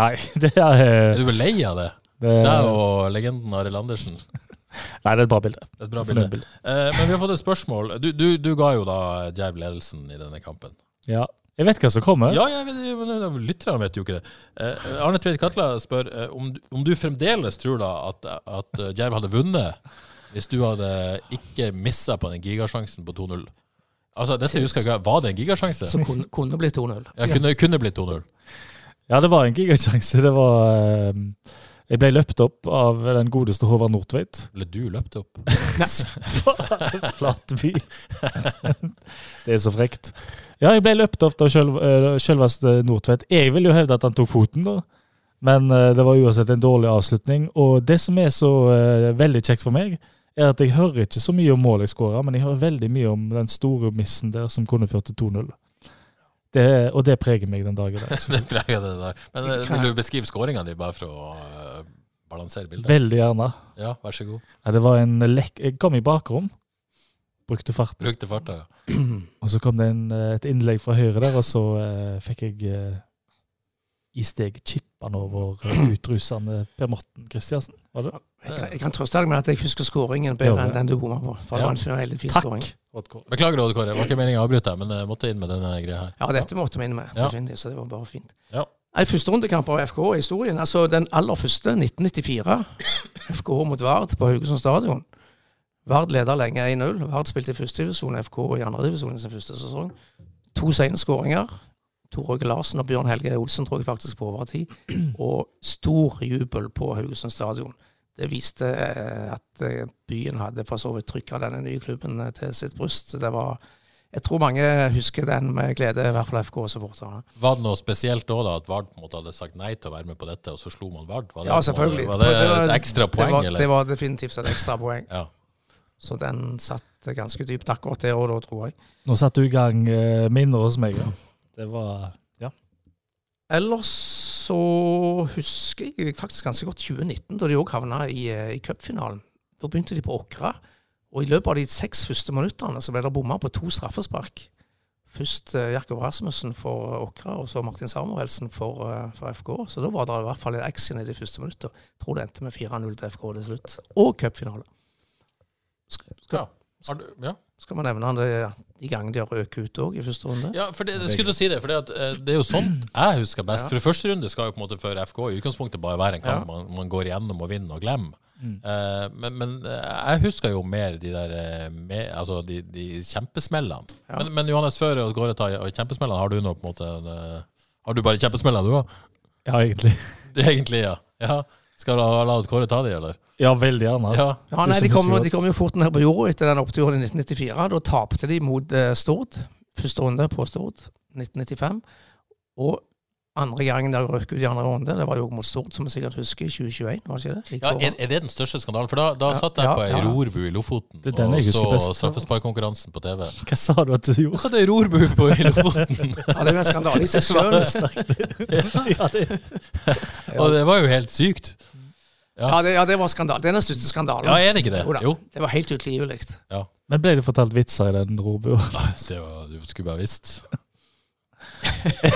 C: Nei, [laughs] det er,
A: Er
C: eh,
A: du lei av det?
C: det,
A: Deg og legenden Arild Andersen.
C: Nei, det er et bra bilde.
A: Et bra
C: Fornøyd
A: bilde. Eh, men vi har fått et spørsmål. Du, du, du ga jo da Djerv ledelsen i denne kampen.
C: Ja. Jeg vet hva som kommer.
A: Ja, jeg vet, men lytterne vet jo ikke det. Eh, Arne Tveit Katla spør eh, om, du- om du fremdeles tror da at, at eh, Djerv hadde vunnet hvis du hadde ikke missa på den gigasjansen på 2-0. Altså, dette husker jeg ikke. Var det en gigasjanse?
B: som kunne, kunne blitt [clears throat] 2-0.
A: Ja, kunne, kunne blitt 2-0.
C: Ja, det var en [laughs] gigasjanse. Det var eh, Jeg ble løpt opp av den godeste Håvard Nordtveit.
A: Eller du løp det opp.
C: [laughs] Flatby. det er så frekt. Ja, jeg ble løpt opp av sjøl- eh, sjølveste Nordtvedt. Jeg vil jo hevde at han tok foten, da. Men eh, det var uansett en dårlig avslutning. Og det som er så eh, veldig kjekt for meg, er at jeg hører ikke så mye om mål jeg skåra, men jeg hører veldig mye om den store missen der som kunne ført til 2-0. Det, og det preger meg den dagen. Der.
A: [laughs] Det preger det der. Men eh, vil du beskrive skåringa di, bare for å eh, balansere bildet?
C: Veldig gjerne.
A: Ja, vær så god.
C: Ja, det var en lekk Jeg kom i bakrom, brukte farten.
A: Bruk til farta. ja.
C: Og så kom det en, eh, et innlegg fra høyre der, og så eh, fikk jeg eh, i steg chippen over [clears throat] eh, utrusende Per Morten Kristiansen. Var det?
B: Jeg, kan- jeg kan trøste deg med at jeg husker skåringen bedre enn den du bomma på. For
A: Ja.
B: det var en veldig fin
C: Takk!
B: scoring.
C: Oddkår.
A: Beklager, Odd Kåre. Det var ikke meningen å avbryte deg, men jeg måtte inn med denne greia her.
B: Ja, dette måtte vi inn med.
A: Ja.
B: definitivt, Så det var bare fint.
A: Ja.
B: Nei, Førsterundekamp av FK i historien. Altså den aller første, [coughs] 1994. FK mot Vard på Haugesund stadion. Vard leder lenge 1-0. Vard spilte i førstedivisjon, FK i andredivisjon i sin første sesong. To sene skåringer. Tor Åge Larsen og Bjørn Helge Olsen tror jeg faktisk på overtid. Og stor jubel på Haugesund stadion. Det viste eh, at eh, byen hadde for så vidt trykka denne nye klubben eh, til sitt bryst. Det var jeg tror mange husker den med glede, i hvert fall FK-supporterne.
A: Var det noe spesielt da, da at Vard på en måte hadde sagt nei til å være med på dette, og så slo man Vard? Var det,
B: Ja, selvfølgelig.
A: på en måte- Var det,
B: var-
A: et ekstra
B: det
A: poeng,
B: var,
A: eller?
B: Det var definitivt et ekstra poeng.
A: Ja.
B: Så den satt ganske dypt akkurat det året, da, tror jeg.
C: Nå satte du i gang eh, minner hos meg. Ja. Det var
B: Ellers så husker jeg faktisk ganske godt 2019, da de òg havna i, eh, i cupfinalen. Da begynte de på Åkra, og i løpet av de seks første minuttene så ble det bomma på to straffespark. Først eh, Jakob Rasmussen for Åkra, og så Martin Samuelsen for, eh, for FK. Så da var det i hvert fall litt action i de første minuttene. Tror det endte med 4-0 til FK til slutt. Og cupfinale. Skal, skal,
A: Ja. Har du, ja.
B: skal man nevne det de gangene de har røket ut òg i første runde?
A: Ja, for det, jeg skulle til å si det, for det, at, eh, det er jo sånt jeg husker best.
B: Ja.
A: For første runde skal jo på en måte for FK i utgangspunktet bare være en kamp
B: Ja.
A: man, man går igjennom og vinner og glemmer.
C: Mm.
A: Eh, men, men eh, jeg husker jo mer de der eh, me- altså de, de kjempesmellene.
B: Ja.
A: Men, men Johannes, før vi går og tar kjempesmellene, har du nå på en måte en, eh, Har du bare kjempesmeller, du òg?
C: Ja, egentlig. [laughs]
A: [laughs] Egentlig, ja. ja. Skal la, la Kåre ta de, eller?
C: Ja, veldig gjerne.
A: Ja.
B: Ja, nei,
C: Tusen
B: de kom,
C: tusen
B: de kom jo fort ned på jorda etter den oppturen i 1994. Da tapte de mot eh, Stord. Første runde på Stord, 1995. Og andre gangen de røk ut i andre runde, det var jo mot Stord, som vi sikkert husker, i 2021. var det ikke det? Like
A: Ja,
B: over.
A: er, er det den største skandalen? For da, da
B: Ja.
A: satt jeg
B: Ja,
A: på ei
B: ja.
A: rorbu i Lofoten
C: Det er den
A: og
C: jeg husker
A: så
C: best.
A: straffesparkkonkurransen på TV.
C: Hva sa du at du
A: Jeg
C: gjorde?
A: satt ei rorbu på i Lofoten!
C: [laughs]
B: ja, det var en
A: [laughs]
B: skandale i seg sjøl.
C: ja, det,
A: Og det var jo helt sykt.
B: Ja, det- ja, det var skandale. Det er den største skandalen.
A: Ja, er det ikke det?
B: Jo da.
A: Jo.
B: Det var helt utilgivelig.
C: men ble det fortalt vitser i den [laughs] robua?
A: Nei, Det var, du skulle bare visst.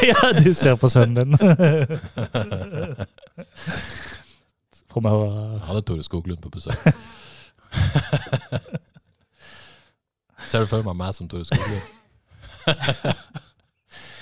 C: ja, du ser på sønnen din. [laughs] Får vi høre
A: Jeg hadde Tore Skoglund på
C: [laughs]
A: besøk. Ser du for meg meg som Tore
C: [laughs]
A: Skoglund?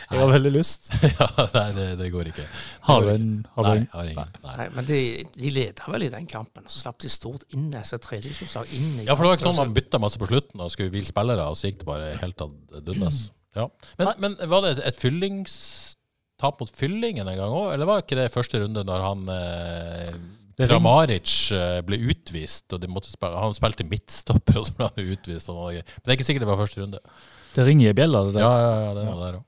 C: Jeg har veldig lyst.
A: [laughs] ja, nei, det, det går ikke.
C: Har du en, har du
A: Nei,
C: en
A: jeg har ingen. Nei.
B: Nei, men de, de leda vel i den kampen. Så slapp de Stord inn etter tredje divisjonslag.
A: Ja, for det var ikke sånn man bytta masse på slutten og skulle hvile spillere, og så gikk det bare helt ad dundas.
C: Mm.
A: Ja. Men, men var det et, et fyllingstap mot fyllingen en gang òg, eller var ikke det første runde når han eh,
C: Det ring-
A: Kramaric eh, ble utvist, og de måtte spille, han spilte midtstopper, og så ble han utvist. Og noe greier. Men det er ikke sikkert det var første runde.
C: Det ringer i bjella, det der.
A: Ja, ja, ja, det var der også.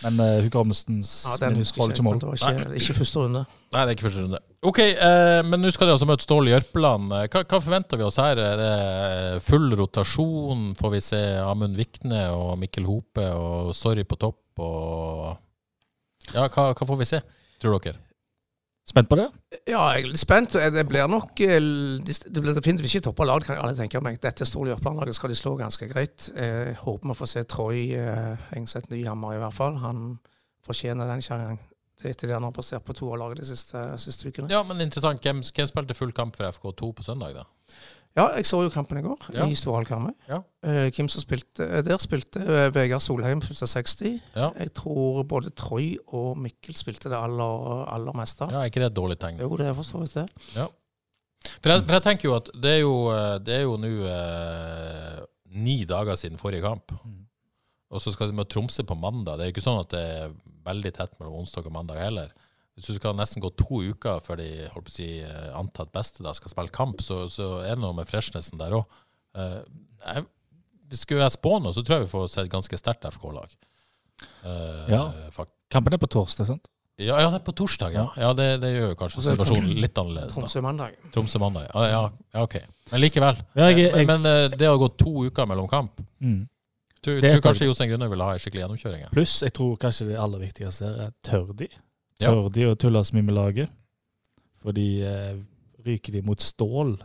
C: Men uh, Hugh Amundsens
B: altså. ja, den husker
C: holder ikke
B: jeg ikke. men
C: mål.
B: Det var ikke, ikke første runde.
A: Nei, det er ikke første runde. Ok, eh, men nå skal de altså møte Ståle Jørpeland. Eh, Hva, hva forventer vi oss her? Er det eh, full rotasjon? Får vi se Amund Vikne og Mikkel Hope og Sorry på topp? Og ja, hva, hva får vi se, tror dere?
C: Spent på det?
B: Ja, jeg er litt spent. Det blir nok eh, Det blir definitivt ikke toppa lag, kan alle tenke meg. Dette store Jørpeland-laget skal de slå ganske greit. Jeg håper vi får se Troy eh, Engseth Nyhammer, i hvert fall. Han fortjener den kjerringa etter det han har prestert på to av laget de siste, siste ukene. Ja.
A: Ja, men interessant. Hvem, hvem spilte full kamp for FK2 på søndag, da?
B: jeg så jo kampen i går
A: Ja.
B: i Storhall Karmøy.
A: Ja.
B: Eh, hvem som spilte eh, Der spilte eh, Vegard Solheim første 60.
A: Ja.
B: Jeg tror både Troy og Mikkel spilte det aller, aller meste.
A: Ja, er ikke det et dårlig tegn?
B: Jo, det er for så vidt det.
A: For jeg, for jeg tenker jo at det er jo eh, det er jo nå eh, ni dager siden forrige kamp.
C: Mm.
A: Og så skal de møte Tromsø på mandag. Det er jo ikke sånn at det er veldig tett mellom onsdag og mandag heller. Hvis du skal nesten gå to uker før de holdt på å si, eh, antatt beste da skal spille kamp, så, så er det noe med freshnessen der òg. skulle jeg spå noe, så tror jeg vi får se et ganske sterkt FK-lag. Eh,
C: Ja.
A: fakt-
C: Kampen er på torsdag, sant?
A: ja, ja, det er på torsdag, ja. ja det, det gjør jo kanskje
B: Og så er det
A: situasjonen litt annerledes. da.
B: Tromsø mandag.
A: Tromsø mandag. Ja, ja, ja, ok. Men likevel.
C: Ja, jeg- jeg-
A: Men, men eh, det har gått to uker mellom kamp.
C: Mm.
A: Tror,
C: Det er
A: tror
C: et
A: kanskje Jostein Grunner ville ha en skikkelig gjennomkjøring? ja.
C: Pluss, jeg tror kanskje det aller viktigste her er tør de?
A: Ja.
C: Tør de å tulle så mye med laget? Fordi eh, ryker de mot stål?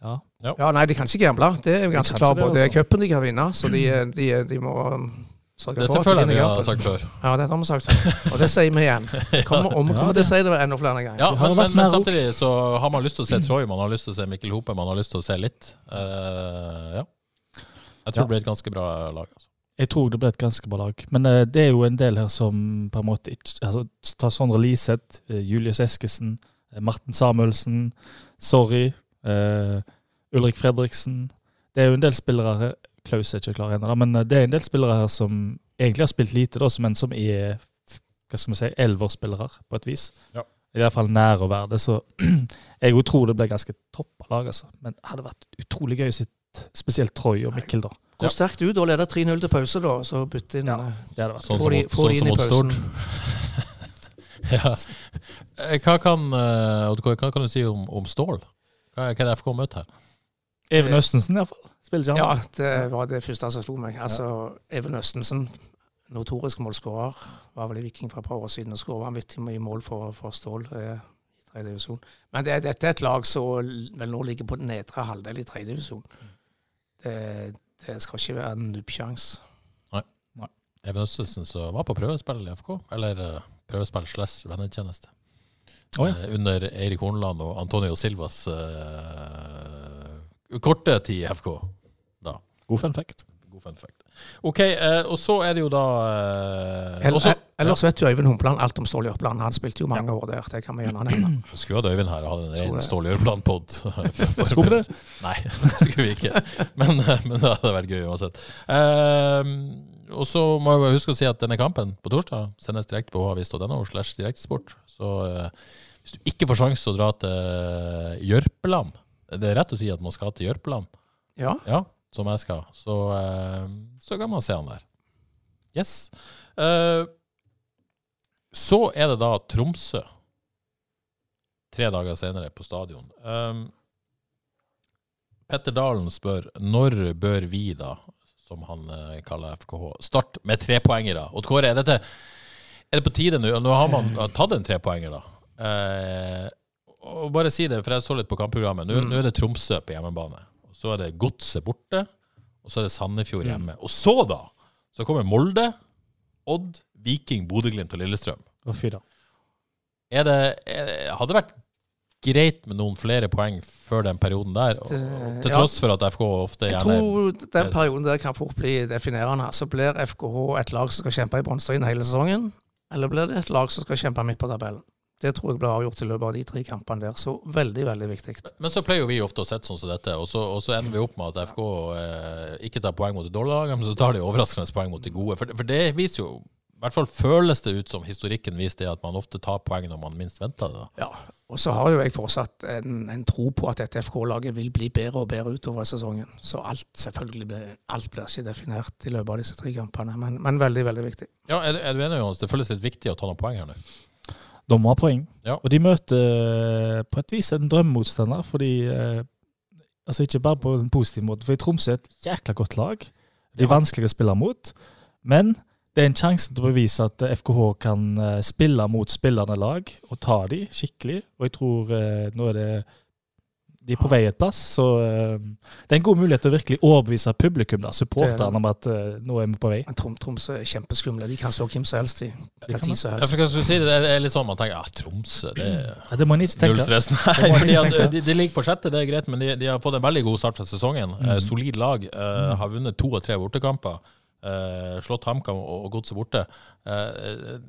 C: Ja.
B: Ja, nei, de kan ikke gamble. Det er jo ganske
C: kan
B: klart.
C: ikke det,
B: Det, det er
C: altså.
B: cupen de kan vinne, så de, eh, de, de må um, sørge for
A: Dette
B: at de
A: føler jeg
B: vinner
A: vi har
B: cupen.
A: sagt før.
B: Ja, dette har vi sagt før. [laughs] Og det sier vi igjen. Kommer, og vi
C: Ja,
B: kommer til å si det enda flere ganger.
A: Ja,
C: Det har
A: men,
C: vært
A: men, men
C: mer rop.
A: samtidig så har man lyst til å se Troy, man har lyst til å se Mikkel Hope, man har lyst til å se litt. Eh, ja. Jeg tror
C: Ja.
A: det blir et ganske bra lag. Altså.
C: Jeg tror det ble et ganske bra lag. Men eh, det er jo en del her som på en måte ikke altså, Ta Sondre Liseth, eh, Julius Eskesen, eh, Marten Samuelsen, Sorry, eh, Ulrik Fredriksen. Det er jo en del spillere her Klaus er ikke klar ennå, da, men eh, det er en del spillere her som egentlig har spilt lite, da, som- men som er f- hva skal vi si, elverspillere, på et vis.
A: Ja.
C: I hvert fall nær å være det. Så [clears throat] jeg jo tror det ble ganske toppa lag, altså. Men det hadde vært utrolig gøy å se spesielt Troy og Mikkel, da.
B: Gå sterkt ut og leder 3-0 til pause, da, så bytte inn.
C: Ja.
B: eh,
C: Det hadde vært
A: Sånn
B: Får
A: som,
B: de-
A: mot-
B: får de
A: sånn som
B: inn i
A: mot Stord. [laughs] ja. Eh, Hva kan, eh, Odd Kåre, hva kan du si om, om Stål? Hva er hva er det FK møter her?
C: Even Østensen, iallfall. Spiller ikke han?
B: Ja, det var det første som slo meg. Altså, Even Østensen. notorisk målskårer. Var vel i Viking for et par år siden og skåra vanvittig mye mål for, for Stål eh, i tredje divisjon. Men det, dette er et lag som vel nå ligger på den nedre halvdel i tredje divisjon. Det, det skal ikke være en nubbsjanse.
A: Even Østesen som var på prøvespill i FK, eller eh, prøvespill slash vennetjeneste.
C: Å ja.
A: Eh, Under Eirik Horneland og Antonio Silvas eh, korte tid i FK.
C: God fun fact.
A: God fun fact. OK, eh, og så er det jo da eh,
B: Ell-
A: også-
B: ell- Ellers vet jo Øyvind Humpland alt om Stål i Oppland. Han spilte jo mange år der. Det kan vi gjerne nevne.
A: Skulle hatt Øyvind her og hatt en
B: Skulle
A: ren
B: det.
A: Stål [laughs] Jørplan-pod.
C: Skulle vi
A: det? Nei, [laughs] det skulle vi ikke. Men, eh, men det hadde vært gøy uansett. Ehm, og så må jeg bare huske å si at denne kampen på torsdag sendes direkte på havis.no slash direktesport. Så eh, hvis du ikke får sjanse til å dra til Jørpeland Det er rett å si at man skal til Jørpeland,
B: Ja,
A: ja, som jeg skal. Så, eh, så kan man se han der. Yes. Eh, så er det da Tromsø, tre dager senere, på stadion. Um, Petter Dalen spør når bør vi, da, som han eh, kaller FKH, starte med trepoengere? Odd Kåre, er, dette, er det på tide nå? Nå har man tatt en trepoenger, da. Eh, og bare si det, for jeg så litt på kampprogrammet. Nå, nå er det Tromsø på hjemmebane. Og så er det Godset borte. Og så er det Sandefjord hjemme. Og så, da, så kommer Molde, Odd, Viking, Bodø-Glimt og Lillestrøm.
C: Å, fy da.
A: Er det, er, hadde det vært greit med noen flere poeng før den perioden der, og, og, til
B: Ja.
A: tross for at FK ofte
B: Jeg
A: gjerne
B: tror den perioden der kan fort bli definerende. Så blir FKH et lag som skal kjempe i bunnstriden hele sesongen, eller blir det et lag som skal kjempe midt på tabellen? Det tror jeg blir avgjort i løpet av de tre kampene der, så veldig, veldig viktig.
A: Men så pleier jo vi ofte å sette sånn som dette, og så, og så ender vi opp med at FK eh, ikke tar poeng mot de dårlige lagene, men så tar de overraskende poeng mot de gode. For, for det viser jo, i hvert fall føles det ut som historikken viser det, at man ofte tar poeng når man minst venter det. da.
B: Ja, og så har jo jeg fortsatt en, en tro på at dette FK-laget vil bli bedre og bedre utover sesongen. Så alt selvfølgelig blir, alt blir ikke definert i løpet av disse tre kampene, men, men veldig, veldig viktig.
A: Ja, er, du- er du enig, Jonas? Det føles litt viktig å ta noen poeng her nå.
C: De må ha poeng.
A: Ja.
C: Og de møter eh, på et vis en drømmemotstander, fordi eh, Altså ikke bare på en positiv måte, for Tromsø er et jækla godt lag. De er vanskelige å spille mot, men det er en sjanse til å bevise at eh, FKH kan eh, spille mot spillende lag og ta de skikkelig. Og jeg tror eh, nå er det de er på vei et plass, så eh, det er en god mulighet til å virkelig overbevise publikum, da, supporterne, om at eh, nå er vi på vei.
B: Men Trom, Tromsø er kjempeskumle. De kan slå hvem som helst i. Hva
C: kan
B: tid som
A: Ja, for
B: helst.
A: hva skal du si? Det er- det er litt sånn man tenker ja, Tromsø, det er
C: Ja, det må en ikke
A: Null
C: tenke.
A: stress.
C: Det
A: Nei,
C: må Mm. jeg
A: fordi
C: ikke
A: at
C: tenke.
A: de, de ligger på sjette, det er greit, men de, de har fått en veldig god start fra sesongen. Eh,
C: Mm.
A: solid lag. Eh, har vunnet to av tre bortekamper. Eh, slått HamKam og, og Godset borte. Eh,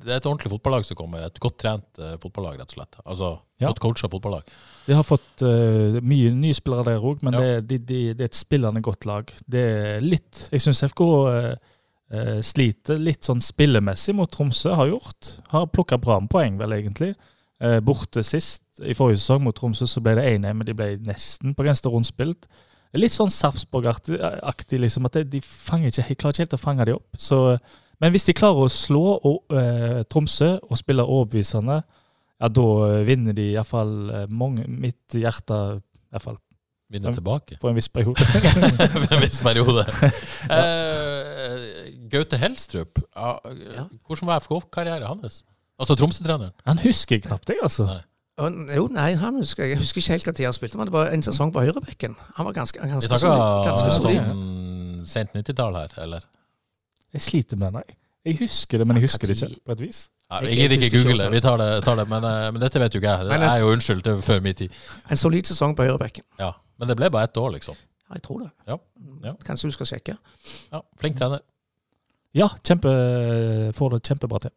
A: det er et ordentlig fotballag som kommer. Et godt trent eh, fotballag, rett og slett. Altså
C: Ja.
A: godt coacha fotballag.
C: De har fått eh, mye nye spillere der òg, men
A: Ja.
C: det, de, de, det er et spillende godt lag. Det er litt Jeg syns FK eh, eh, sliter litt sånn spillemessig mot Tromsø, har gjort. Har plukka bra med poeng, vel, egentlig. Eh, borte sist, i forrige sesong mot Tromsø, så ble det 1-1, men de ble nesten på grensen til rundspilt. Litt sånn Sarpsborg-aktig, liksom, at de, de fanger ikke, helt- klarer ikke helt å fange de opp. Så, men hvis de klarer å slå og, eh, Tromsø og spille overbevisende, ja, da eh, vinner de iallfall eh, mange Mitt hjerte iallfall
A: Vinner
C: Ja. [laughs]
A: tilbake
C: får en viss periode.
A: for en viss periode. Eh, Gaute Helstrup, ja,
B: Ja.
A: hvordan var FK-karrieren hans? Altså Tromsø-treneren?
C: Han husker jeg knapt, jeg, altså.
A: Nei.
B: Og- Jo, nei, han husker, jeg husker ikke helt hva tid han spilte, men det var en sesong på høyrebekken. Han var ganske,
A: Vi
B: ganske, solid,
A: snakker
B: ganske solid.
A: sånn sent 90-tall her, eller?
C: Jeg sliter med den, jeg. Jeg husker det, men jeg husker det
B: Når-
C: ikke, på et vis.
A: Ja,
B: Jeg-
A: jeg gidder
B: jeg
A: ikke sånn.
B: husker ikke
A: google det.
B: også.
A: Vi tar det, tar det men, eh, men dette vet jo ikke jeg. Det
B: Men
A: er
B: jeg-
A: jo unnskyld det er før min tid.
B: En solid sesong på høyrebekken.
A: Ja. Men det ble bare ett år, liksom.
B: Ja, jeg tror det. Mm,
A: Ja, ja.
B: Kanskje du skal sjekke.
A: Ja, flink trener.
C: Ja, kjempe, får det kjempebra til.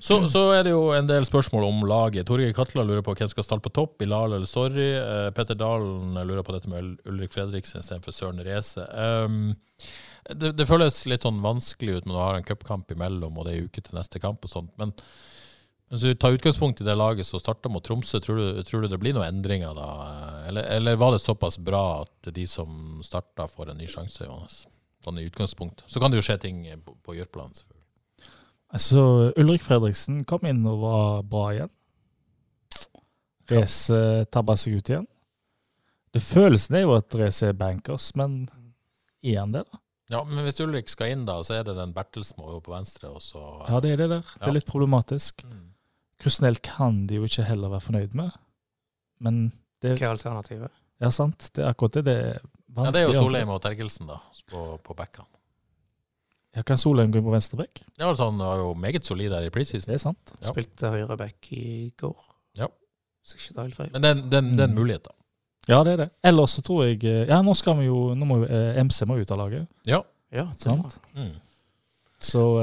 A: Så, så er det jo en del spørsmål om laget. Torgeir Katla lurer på hvem skal starte på topp, Bilal eller Sorry. Eh, Petter Dalen lurer på dette med Ul- Ulrik Fredriksen istedenfor Søren Reise. Um, det, det føles litt sånn vanskelig ut når du har en cupkamp imellom og det er en uke til neste kamp og sånt, men hvis du tar utgangspunkt i det laget som starta mot Tromsø, tror du, tror du det blir noen endringer da? Eller, eller var det såpass bra at de som starta, får en ny sjanse, Johannes? Sånn i utgangspunkt. Så kan det jo skje ting på, på Jørpeland. selvfølgelig.
C: Altså, Ulrik Fredriksen kom inn og var bra igjen. Race eh, tabba seg ut igjen. Det Følelsen er jo at Race er bankers, men er han det, da?
A: Ja, men hvis Ulrik skal inn, da, så er det den Bertelsen må jo på venstre, og så
C: Ja, det er det der. Det
A: Ja.
C: er litt problematisk.
A: Mm.
C: Krusnell kan de jo ikke heller være fornøyd med. Men
B: Hva er alternativet?
C: ja, sant, det er akkurat det. Det er vanskelig.
A: Ja, det er jo Solheim og Terkelsen, da, på, på bekkene.
C: Ja, kan Solheim gå inn på venstre bekk?
A: Ja, altså, han var jo meget solid der i preseason.
C: Det er sant.
A: Ja.
B: Spilte høyre back i går.
A: Ja.
B: Så ikke det er helt feil.
A: Men det er en- det er en- det er en
C: Mm.
A: mulighet, da.
C: Ja, det er det. Ellers så tror jeg eh, Ja, nå skal vi jo Nå må jo eh, MC må ut av laget,
A: Ja.
B: Ja, det er
C: sant?
B: bra.
A: Mm.
C: Så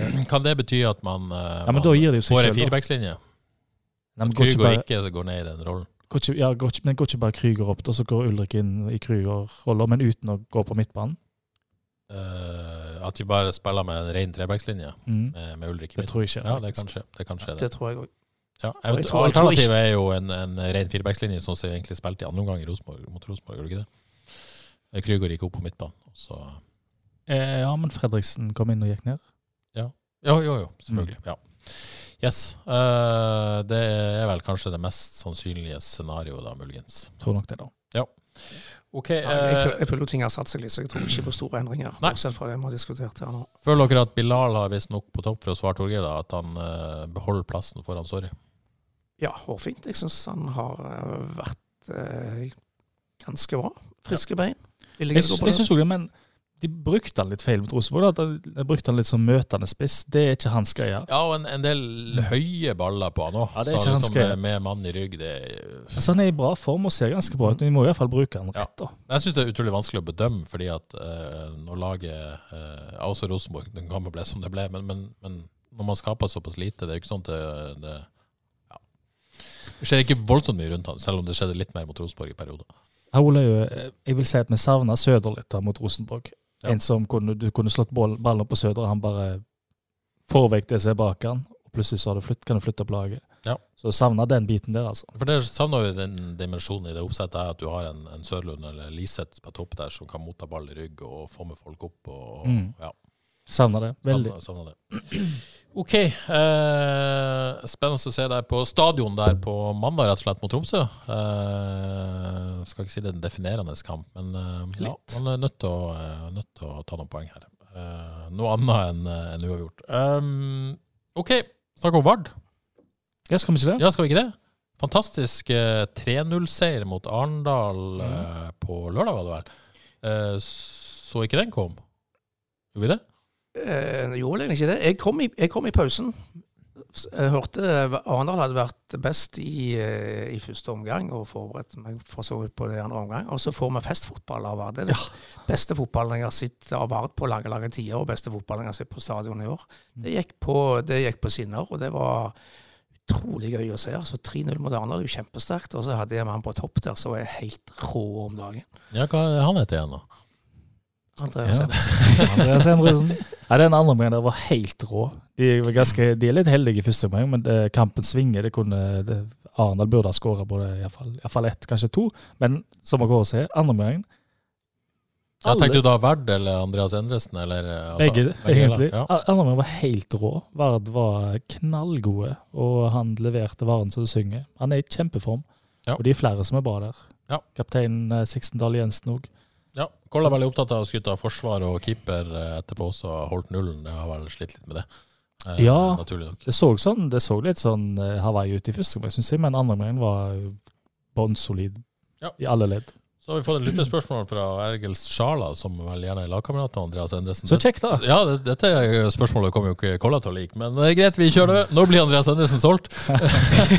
C: eh,
A: Kan det bety at man, eh,
C: Ja, men
A: man
C: da gir det jo seg
A: får en
C: selv, da.
A: firebackslinje?
C: Nei, men går ikke
A: Krüger
C: bare,
A: ikke går ned i den rollen.
C: går ikke, ja, går ikke, men går ikke bare Krüger opp, da, så går Ulrik inn i Krüger-rolla, men uten å gå på midtbanen?
A: Eh, at vi bare spiller med en ren trebackslinje
C: Mm.
A: med, med Ulrik i
C: Det
A: midten.
C: tror jeg ikke.
A: Ja, det kan
C: faktisk.
A: skje. Det kan skje det.
B: Det tror jeg òg.
A: Ja,
B: Og jeg
A: event-
B: tror- jeg tror
A: Alternativet er jo en, en ren firebackslinje, sånn som vi egentlig spilte i andre omgang i Rosenborg, mot Rosenborg, gjorde du ikke det? Krüger gikk opp på midtbanen. og Så.
C: Eh, ja, men Fredriksen kom inn og gikk ned.
A: Jo, jo, jo, selvfølgelig. Ja. Yes. eh, det er vel kanskje det mest sannsynlige scenarioet, da, muligens.
C: Tror nok det, da.
A: Ok,
B: Ja, jeg,
A: eh,
B: føl- jeg føler jo ting har satt seg litt, så jeg tror ikke på store endringer.
A: Nei.
B: Bortsett fra det vi har diskutert her nå.
A: Føler dere at Bilal har visstnok på topp for å svare Torgeir, da, at han eh, beholder plassen foran Sorry?
B: Ja, hårfint. Jeg syns han har eh, vært eh, ganske bra. Friske bein. Vil
C: Jeg,
B: jeg gå
C: sy-
B: på
C: jeg
B: det?
C: syns også det, men de brukte han litt feil mot Rosenborg. da. De- De brukte han litt som møtende spiss. Det er ikke hans greie.
A: Ja, og en, en del høye baller på han òg.
C: Ja, det er ikke hans greie.
A: med, med mann i rygg, det er
C: Altså, han er i bra form og ser ganske bra ut, men vi må i hvert fall bruke han rett. da.
A: Men Jeg syns det er utrolig vanskelig å bedømme, fordi at eh, når laget eh, ja, Også Rosenborg, den kampen ble som det ble, men, men, men når man skaper såpass lite, det er jo ikke sånn at det, det ja. Det skjer ikke voldsomt mye rundt han, selv om det skjedde litt mer mot Rosenborg i perioder.
C: Her, Ole, eh, jeg vil si at vi savner Søder litt her mot Rosenborg.
A: Ja.
C: En som kunne, du kunne slått ball- ballen på Søder, og han bare får vekk det som er bak han, og plutselig så har du flytt, kan du flytte opp laget.
A: Ja.
C: Så savner den biten der, altså.
A: For det savner jo den dimensjonen i det oppsettet her, at du har en, en Sørlund eller Liseth på topp der som kan motta ball i rygg og få med folk opp. og
C: Mm.
A: ja,
C: Savner det. altså. Veldig.
A: savner, savner det. OK. Eh, spennende å se deg på stadion der på mandag, rett og slett, mot Tromsø. Eh, skal ikke si det er en definerende kamp, men eh, ja,
C: Litt.
A: man er nødt til, å, eh, nødt til å ta noen poeng her. Eh, noe annet enn eh, enn uavgjort. Um, OK, snakk om Vard.
C: Ja, skal vi ikke det?
A: Ja, skal vi ikke det? Fantastisk eh, 3-0-seier mot
C: Mm.
A: Arendal eh, på lørdag, var det vel. Eh, så ikke den kom. Gjorde vi det?
B: Eh, gjorde egentlig ikke det. Jeg kom i, jeg kom i pausen. Jeg hørte eh, Arendal hadde vært best i, eh, i første omgang, og forberedte meg for så vidt på det i andre omgang. Og så får vi festfotball av Vard. Det er den beste fotballen jeg har sett av Vard på lange, lange tider, og beste fotballen jeg har sett på stadion i år. Det gikk på, det gikk på skinner, og det var utrolig gøy å se. Altså 3-0 mot Arendal er jo kjempesterkt, og så hadde jeg en mann på topp der som er helt rå om dagen.
A: Ja, hva er han heter igjen, da?
B: Andreas
C: Ja.
B: Henriksen.
C: [laughs] Andreas Henriksen. Nei, den andre omgangen der var helt rå. De, var ganske, de er litt heldige i første omgang, men eh, kampen svinger. Det kunne, det, Arendal burde ha skåra både i hvert fall- i hvert fall ett, kanskje to. Men som man går og ser, andre omgangen
A: Ja,
C: Alle.
A: tenkte du da Verd eller Andreas Endresen? Eller, eh, altså,
C: Begge, egentlig.
A: Ja.
C: Andre omgang var helt rå. Vard var knallgode, og han leverte varen så det synger. Han er i kjempeform,
A: Ja.
C: og de er flere som er bra der.
A: Ja.
C: Kaptein eh, Sixtendal Jensen òg.
A: Ja. Koll er veldig opptatt av å skryte av forsvar og keeper eh, etterpå, så har holdt nullen. Det har vel slitt litt med det. Eh,
C: Ja.
A: Naturlig nok.
C: Det så, sånn, det så litt sånn eh, Hawaii ut i første omgang, syns jeg, men andre omgang var jo bånnsolid
A: Ja.
C: i alle ledd.
A: Så har vi fått et lyttespørsmål fra Ergils Sjala, som vel gjerne er lagkamerat av Andreas Endresen.
C: Så kjekt, da!
A: Ja, det, dette spørsmålet kommer jo ikke Kolla til å like, men det er greit, vi kjører det. Når blir Andreas Endresen
C: [laughs]
A: solgt? [laughs]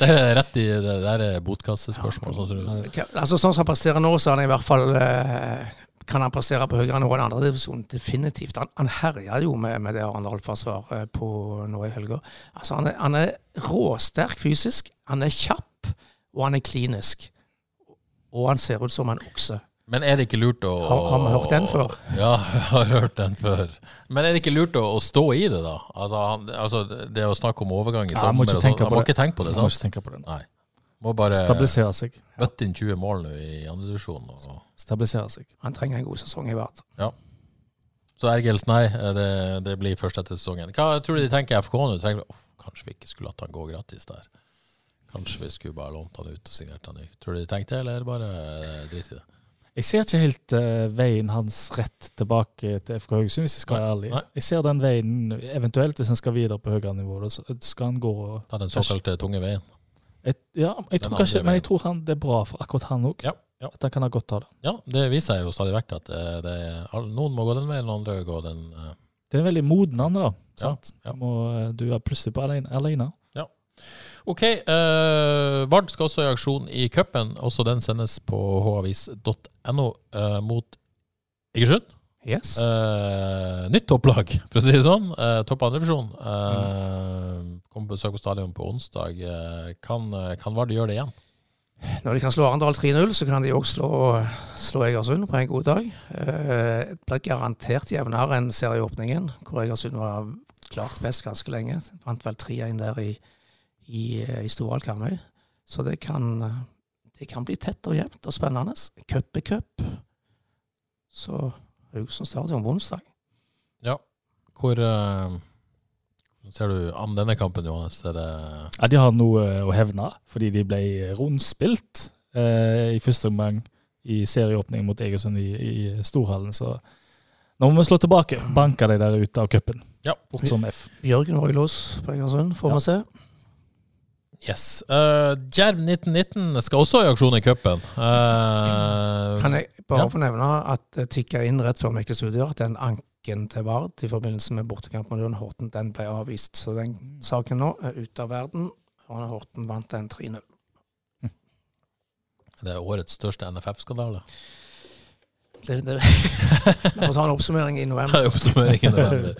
A: det er rett i det der er botkassespørsmål. Sånn som du-
B: Ka- Altså Sånn som han passerer nå, så er han i hvert fall eh, kan han passere på høyere nivå enn andre divisjon, definitivt. Han, han herja jo med, med det Arendal-forsvaret på nå i helga. Altså, han, er, han er råsterk fysisk, han er kjapp, og han er klinisk. Og han ser ut som en okse.
A: men er det ikke lurt å
B: Har, har vi hørt den før?
A: [laughs] Ja, jeg har hørt den før. Men er det ikke lurt å, å stå i det, da? Altså, han, altså det å snakke om overgang i
C: Ja,
A: sommer
C: jeg må ikke
A: og sånn,
C: tenke
A: han
C: på
A: må
C: det.
A: ikke tenke på det.
C: Jeg må
A: Sant?
C: ikke tenke på det. nå.
A: Nei. Må bare [laughs]
C: Stabilisere seg.
A: bøtte inn 20 mål nå i andredivisjon.
C: Stabilisere seg.
B: Han trenger en god sesong i hvert.
A: Så Ergels, nei, det, det blir først etter sesongen. Hva tror du de tenker i FK nå? De Tenker, «Åh, kanskje vi ikke skulle latt han gå gratis der. Kanskje vi skulle bare lånt han ut og signert han ny. Tror du de tenkte det, eller er det bare eh, drit i det?
C: Jeg ser ikke helt eh, veien hans rett tilbake til FK Haugesund, hvis jeg skal være ærlig.
A: nei.
C: Jeg ser den veien eventuelt, hvis han skal videre på høyere nivå, da så skal han gå
A: Ta den såkalte tunge veien.
C: et, Ja, jeg
A: Den
C: tror kanskje,
A: andre
C: men
A: veien.
C: jeg tror han, det er bra for akkurat han òg.
A: Ja, ja.
C: At han kan ha godt av det.
A: Ja, det viser seg jo stadig vekk at eh, det er, all- noen må gå den veien, og andre går den eh,
C: Det er veldig modnende, da. Sant?
A: ja.
C: Må, eh, du er plutselig på alene. alene.
A: OK. eh, Vard skal også i aksjon i cupen. Også den sendes på havis.no eh, mot Egersund.
B: Yes.
A: Eh, nytt topplag, for å si det sånn. Uh, topp andrevisjon. Uh, Kommer på besøk på stadion på onsdag. Eh, kan, eh, kan Vard gjøre det igjen?
B: Når de kan slå Arendal 3-0, så kan de òg slå, slå Egersund på en god dag. Eh, Det blir garantert jevnere enn serieåpningen, hvor Egersund var klart best ganske lenge. Vant vel 3-1 der i, i, eh, i Storhall Karmøy. Så det kan, det kan bli tett og jevnt og spennende. Cup er cup. Så Haugesund stadion på onsdag.
A: Hvor eh, ser du an denne kampen, Johannes? Er det
C: Ja, de har noe eh, å hevne, fordi de ble rundspilt eh, i første omgang i serieåpningen mot Egersund i, i Storhallen. Så nå må vi slå tilbake. Banke de der ute av cupen.
A: Ja.
C: Fort som F.
B: Jørgen Røylås på Egersund, får vi
C: Ja.
B: se.
A: Yes. Eh, Djerv 1919 skal også i aksjon i cupen. Eh,
B: Kan jeg bare
A: Ja.
B: få nevne at det tikka inn rett før vi gikk i studio at den anken til Vard i forbindelse med bortekamp mot Ørn Horten, den ble avvist. Så den
A: Mm.
B: saken nå er ute av verden. Ørn Horten vant den 3-0.
A: det er årets største NFF-skandale.
B: Det- det- Vi får ta en oppsummering i november.
A: [laughs] Det er oppsummeringen av den.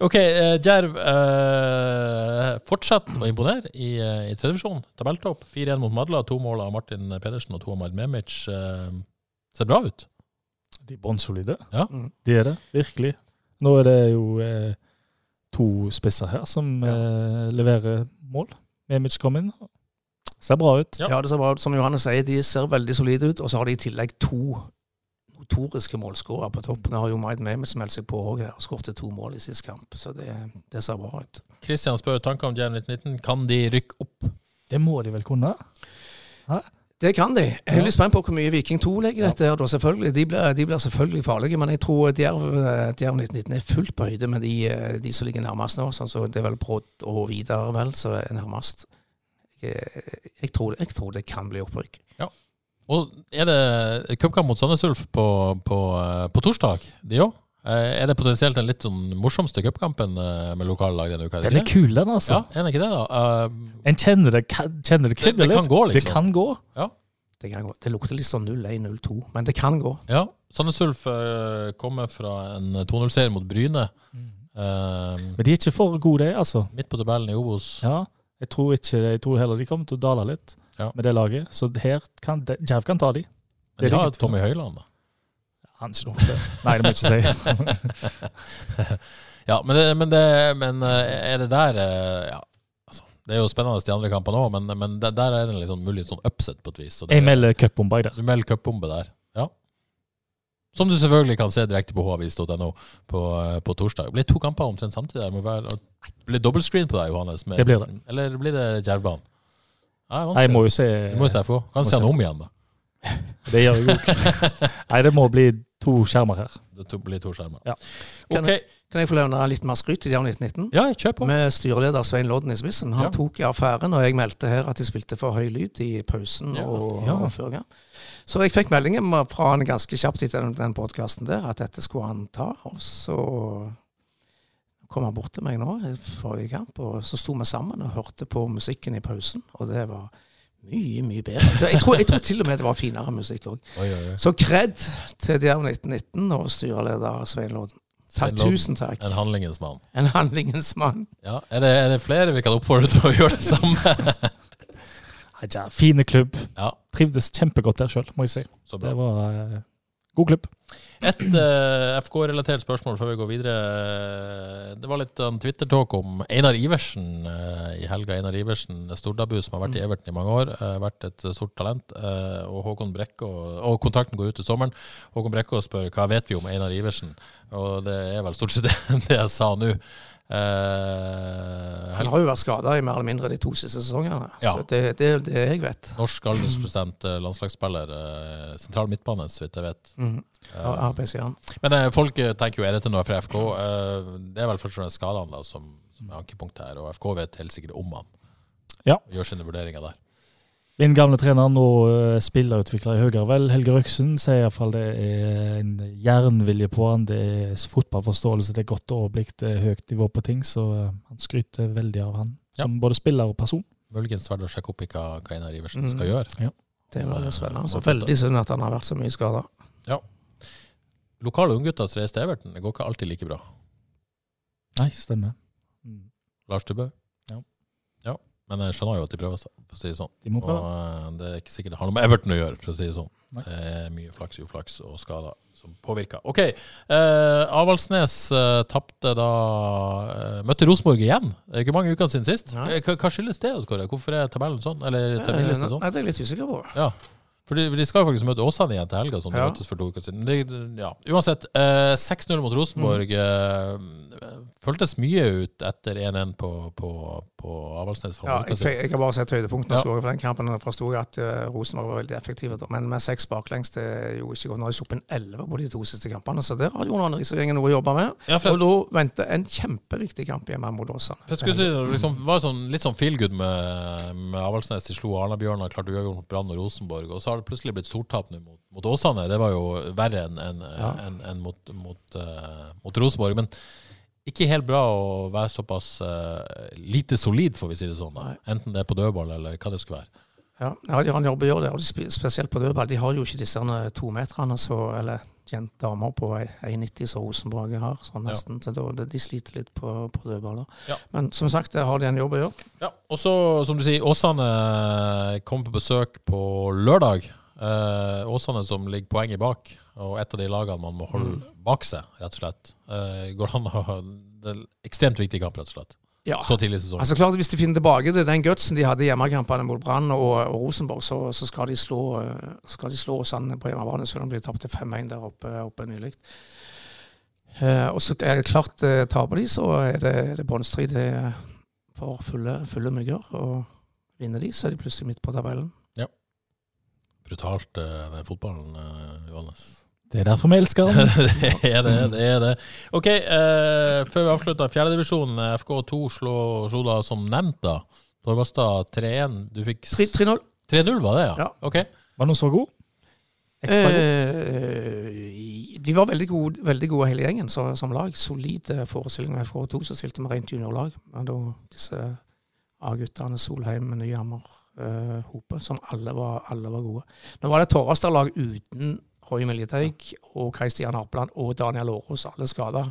A: OK, eh, Djerv eh, fortsetter å imponere i, eh, i tredje divisjon. Tabelltopp. 4-1 mot Madla. To mål av Martin Pedersen og to av Mard Memic. Eh, ser bra ut.
C: De er bunnsolide.
A: Ja.
B: Mm.
C: De er det, virkelig. Nå er det jo eh, to spisser her som eh, leverer mål. Memic kom inn. Ser bra ut.
A: Ja.
B: Ja, det ser bra ut. Som Johannes sier, de ser veldig solide ut. Og så har de i tillegg to notoriske målskårere på toppen. Det har jo Maid Mehmet meldt seg på òg her og skåret to mål i sist kamp. Så det, det ser bra ut.
A: Kristian spør tanker om Djerv 1919. Kan de rykke opp?
C: Det må de vel kunne?
B: Det kan de. Jeg er litt spent på hvor mye Viking 2 legger i
C: Ja.
B: dette. her da, selvfølgelig. De blir, de blir selvfølgelig farlige, men jeg tror Djerv, eh, Djerv 1919 er fullt på høyde med de, eh, de som ligger nærmest nå. sånn som Det er vel Brodd og Vidar, vel, så det er nærmest. Jeg, jeg, tror, jeg tror det kan bli opprykk.
A: Og er det cupkamp mot Sandnes Ulf på, på, eh, på torsdag, de òg? Er det potensielt den litt sånn morsomste cupkampen eh, med lokallag denne uka? er det
C: Den er
A: ikke det?
C: kul, den, altså.
A: Ja, er den ikke det, da? Eh,
C: En kjenner det, kan- kjenner det
A: Det-
C: kribler
A: det kan
C: litt.
A: gå, liksom.
C: Det kan gå.
B: Det kan gå. Det lukter litt sånn 0-1-0-2, men det kan gå.
A: Ja, Sandnes Ulf eh, kommer fra en 2-0-seier mot Bryne. Eh,
C: Men de er ikke for gode, de, altså.
A: midt på tabellen i Obos.
C: Ja, jeg tror, ikke, jeg tror heller de kommer til å dale litt
A: Ja.
C: med det laget. Så her kan de- Jerv kan ta de.
A: Men
C: det
A: de
C: er
A: har
C: ingen tvil.
A: Tommy Høiland, da.
C: Han er ikke noe for det. Nei, det må jeg
A: [laughs]
C: ikke si.
A: Ja, men, det, men, det, men eh, er det der eh, ja, altså, Det er jo spennende de andre kampene òg, men, men der, der er det en litt sånn mulig sånn upset på et vis. så det-
C: Jeg melder cupbomba i der.
A: Du melder cupbombe der. Ja. Som du selvfølgelig kan se direkte på havis.no på, eh, på torsdag. Det blir to kamper omtrent samtidig. Det må være- Det blir dobbeltscreen på deg, Johannes. med-
C: Det blir det.
A: Eller blir det Djervbanen? Nei,
C: Nei, jeg
A: vanskelig.
C: må jo se
A: Du må jo se FK. Kan
C: må
A: se han
C: se-
A: om igjen, da.
C: Det gjør jeg jo ikke.
A: [laughs]
C: Nei, det må bli to skjermer her.
A: Det to, blir to skjermer.
C: Ja.
B: Kan
A: Ok,
B: Kan jeg få levne litt mer skryt til Djerv 1919?
A: ja, kjør på.
B: Med styreleder Svein Lodden i spissen. Han
A: Ja.
B: tok i affæren, og jeg meldte her at de spilte for høy lyd i pausen
A: Ja.
B: og,
C: Ja.
B: og før. Ja. Så jeg fikk meldingen ma- fra han ganske kjapt etter den, den podkasten der, at dette skulle han ta. Og så kom han bort til meg nå i forrige kamp, og så sto vi sammen og hørte på musikken i pausen, og det var mye, mye bedre. Jeg tror, jeg tror til og med det var finere musikk òg.
A: Oi, oi, oi.
B: Så kred til Djerv 1919 og styreleder Svein Lodden. Takk,
A: Svein Lodden.
B: tusen takk.
A: En handlingens mann.
B: En handlingens mann.
A: Ja, er, det, er det flere vi kan oppfordre til å [laughs] gjøre det samme?
C: Nei, Jerv, Fine klubb.
A: Ja.
C: Trivdes kjempegodt der sjøl, må jeg si.
A: Så bra.
C: Det var eh, god klubb.
A: Et eh, FK-relatert spørsmål før vi går videre. Det var litt en Twitter-talk om Einar Iversen eh, i helga. Einar Iversen, Stordabu, som har vært i Everton i mange år. eh, vært et stort talent. eh, og Håkon Brekke, og kontrakten går ut til sommeren. [laughs] Håkon Brekke spør hva vet vi om Einar Iversen. Og det er vel stort sett det jeg sa nå. Eh,
B: Han
A: Helge,
B: har jo vært skada i mer eller mindre de to siste sesongene.
A: Ja.
B: Så det, det er det jeg vet.
A: norsk aldersbestemt eh, landslagsspiller. eh, Sentral midtbane, så vidt jeg vet.
B: Mm.
A: Eh,
B: RPC-en.
A: Men eh, folk eh, tenker jo er dette noe for FK? Eh, det er vel først og fremst skadene da, som, som er ankepunktet her, og FK vet helt sikkert om han.
C: Ja.
A: Gjør sine vurderinger der.
C: Min gamle trener, nå eh, spillerutvikler i Høyre, vel, Helge Røksen, sier iallfall det er en jernvilje på han. Det er s- fotballforståelse, det er godt overblikk, det er høyt nivå på ting. Så eh, han skryter veldig av han,
A: Ja.
C: som både spiller og person.
A: Muligens verdt å sjekke opp i hva, hva Einar Iversen
B: Mm.
A: skal gjøre.
B: Det var jo spennende. Så
A: Man får ta-
B: veldig synd at han har vært så mye skada.
A: Lokale unggutter som reiser til Everton, det går ikke alltid like bra.
C: Nei, stemmer. Mm,
A: Lars Tubø.
C: Ja.
A: ja. Men jeg skjønner jo at de prøver seg, for å si det sånn.
C: De må
A: Og
C: prøve.
A: eh, det er ikke sikkert det har noe med Everton å gjøre, for å si det sånn.
C: Nei.
A: Det er mye flaks, uflaks og skader som påvirker. OK. Eh, Avaldsnes eh, tapte da eh, Møtte Rosenborg igjen. Det er ikke mange ukene siden sist.
B: Nei. Eh,
A: Eh, Hva, hva skyldes det, Odd Kåre? Hvorfor er tabellen sånn? Eller tabellisten sånn?
B: Nei, det er jeg litt usikker på.
A: Ja. For de, de skal jo faktisk møte Åsane igjen til helga, som de
B: Ja.
A: møttes for to uker siden. Men Det, ja. Uansett, eh, 6-0 mot Rosenborg
B: Mm.
A: eh, føltes mye ut etter 1-1 på, på, på Avaldsnes. for
B: Ja,
A: noen uker
B: jeg,
A: siden.
B: fikk- jeg har bare sett høydepunktene
A: Ja.
B: og skåret for den kampen. og Jeg forsto at eh, Rosenborg var veldig effektive, da. men med seks baklengs det er jo ikke godt. Nå har de sluppet inn elleve på de to siste kampene, så der har Jon Arne Riise og gjengen noe å jobbe med.
A: Ja, for
B: Og
A: jeg-
B: nå venter en kjempeviktig kamp hjemme mot Åsane.
A: for jeg skulle si, det liksom, var sånn, litt sånn feel good med, med Avaldsnes. De slo Arna-Bjørnar, klarte uavgjort mot Brann og Rosenborg. Og så har det plutselig blitt sortap nå mot, mot Åsane. Det var jo verre enn enn-
B: Ja.
A: enn- enn mot, mot, eh, mot Rosenborg. Men ikke helt bra å være såpass eh, lite solid, får vi si det sånn. da.
B: Nei.
A: Enten det er på dødball eller hva det skulle være.
B: Ja, ja, de har en jobb å gjøre der, og de spe- spesielt på dødball. De har jo ikke disse eh, tometerne, så- eller jen- damer på ei- 1,90 som Rosenborg har, sånn
A: Ja.
B: nesten. Så da, de sliter litt på, på dødball. da.
A: Ja.
B: Men som sagt, der har de en jobb å gjøre.
A: Ja, Og så, som du sier, Åsane kommer på besøk på lørdag. Eh, Åsane som ligger poenget bak, og et av de lagene man må holde bak seg, rett og slett. Eh, går an å ha en ekstremt viktig kamp, rett og slett.
B: Ja.
A: Så tidlig i sesongen.
B: Altså klart, Hvis de finner tilbake til den gutsen de hadde i hjemmekampene mot Brann og, og Rosenborg, så, så skal de slå eh, skal de slå Åsane på hjemmebane, selv om de tapte 5-1 der oppe, oppe nylig. Eh, og så er det klart, eh, taper de, så er det, er det bånnstrid eh, for fulle, fulle mygger. Og vinner de, så er de plutselig midt på tabellen.
A: Brutalt, eh, den fotballen, eh, Johannes.
C: Det er derfor vi
A: [laughs]
C: elsker han.
A: det er det, det er det. Ok, eh, før vi avslutter eh, fjerdedivisjonen, FK2 slår slo da som nevnt da. Torvastad 3-1. Du fikk s-
B: 3-0.
A: 3-0, var det, ja?
B: Ja.
A: Ok.
C: Var noen så god? Ekstra god?
B: Eh, de var veldig gode, veldig gode hele gjengen så, som lag. Solid eh, forestilling med FK2, så stilte vi rent juniorlag. Men da disse A-guttene, Solheim, Nyhammer, eh, Hope, som alle var, alle var gode. Nå var det Torvastad-lag uten Høy Miljeteig og Kai Stian Harpeland og Daniel Årås, alle skada.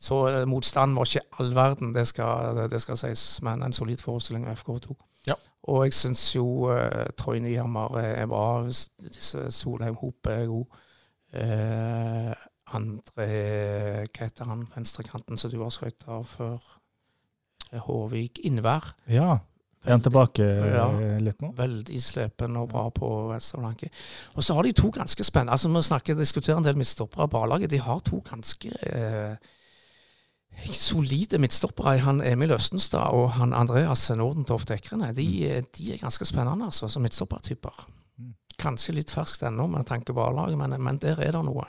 B: Så eh, motstanden var ikke all verden, det skal, det, det skal sies, men en solid forestilling av FK2.
A: Ja.
B: Og jeg syns jo eh, Troy Nyhammer er bra, s- disse Solheim Hope er god. Eh, andre Hva heter han venstrekanten som du har skrøyt av før? Eh, Hårvik Innvær.
C: Ja. Er han tilbake eh,
B: Ja.
C: litt nå?
B: Veldig slepen og bra på venstreblanke. Og så har de to ganske spennende altså Vi snakker, diskuterer en del midtstoppere på A-laget. De har to ganske eh, solide midtstoppere. Han Emil Østenstad og han Andreas Nordentoft Ekrene. De, eh, de er ganske spennende altså, som midtstoppertyper.
C: Mm.
B: Kanskje litt ferskt ennå med tanke på A-laget, men, men der er det noe.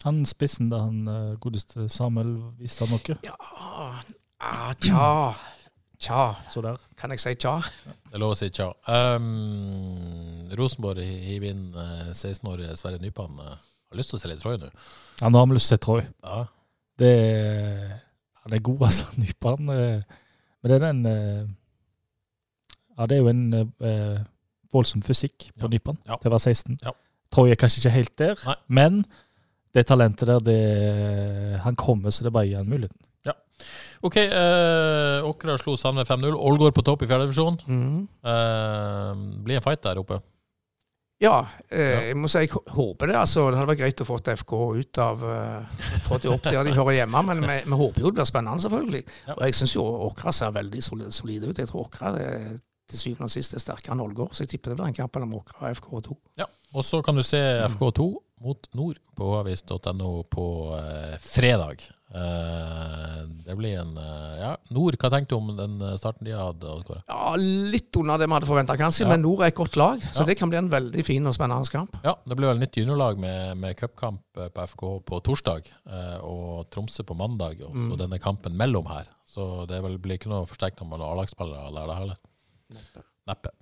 C: Han spissen da han eh, godeste Samuel viste han noe.
B: Ja, ah, tja. Tja.
C: Så der.
B: Kan jeg si tja?
A: Det er lov å si tja. Um, Rosenborg hiver inn eh, 16-årige Sverre Nypan. eh, har lyst til å se litt Troy nå.
C: Ja, nå har vi lyst til å se Troy.
A: Ja.
C: Det er, han er god, [laughs] altså, Nypan. eh, Men det er den eh, Ja, det er jo en eh, voldsom fysikk på
A: Ja,
C: Nypan
A: ja.
C: til å være 16.
A: Ja.
C: Troy er kanskje ikke helt der,
A: Nei.
C: men det talentet der, det, han kommer, så det bare gir han muligheten.
A: OK, eh, Åkra slo Sandve 5-0. Ålgård på topp i fjerdedivisjon.
B: Mm.
A: Uh, blir en fight der oppe.
B: Ja, eh, jeg må si jeg hå- håper det. altså Det hadde vært greit å få FK ut av eh, Få de opp der de hører hjemme, men vi, vi håper jo det blir spennende, selvfølgelig.
A: Ja.
B: Og jeg syns jo Åkra ser veldig solid, solide ut. Jeg tror Åkra eh, til syvende og sist er sterkere enn Ålgård, så jeg tipper det blir en kamp mellom Åkra og FK2.
A: Ja, og så kan du se FK2 mot Nord på avis.no på eh, fredag. Eh, det blir en eh, Ja, Nord, hva tenkte du om den eh, starten de hadde? Odd Kåre?
B: Ja, Litt under det vi hadde forventa, kanskje,
A: Ja.
B: men Nord er et godt lag, så
A: Ja.
B: det kan bli en veldig fin og spennende kamp.
A: Ja, det blir vel nytt juniorlag med, med cupkamp eh, på FK på torsdag eh, og Tromsø på mandag, og så denne kampen mellom her. Så det vel blir ikke noe forsterkning med noen A-lagsspillere der, da heller. Neppe.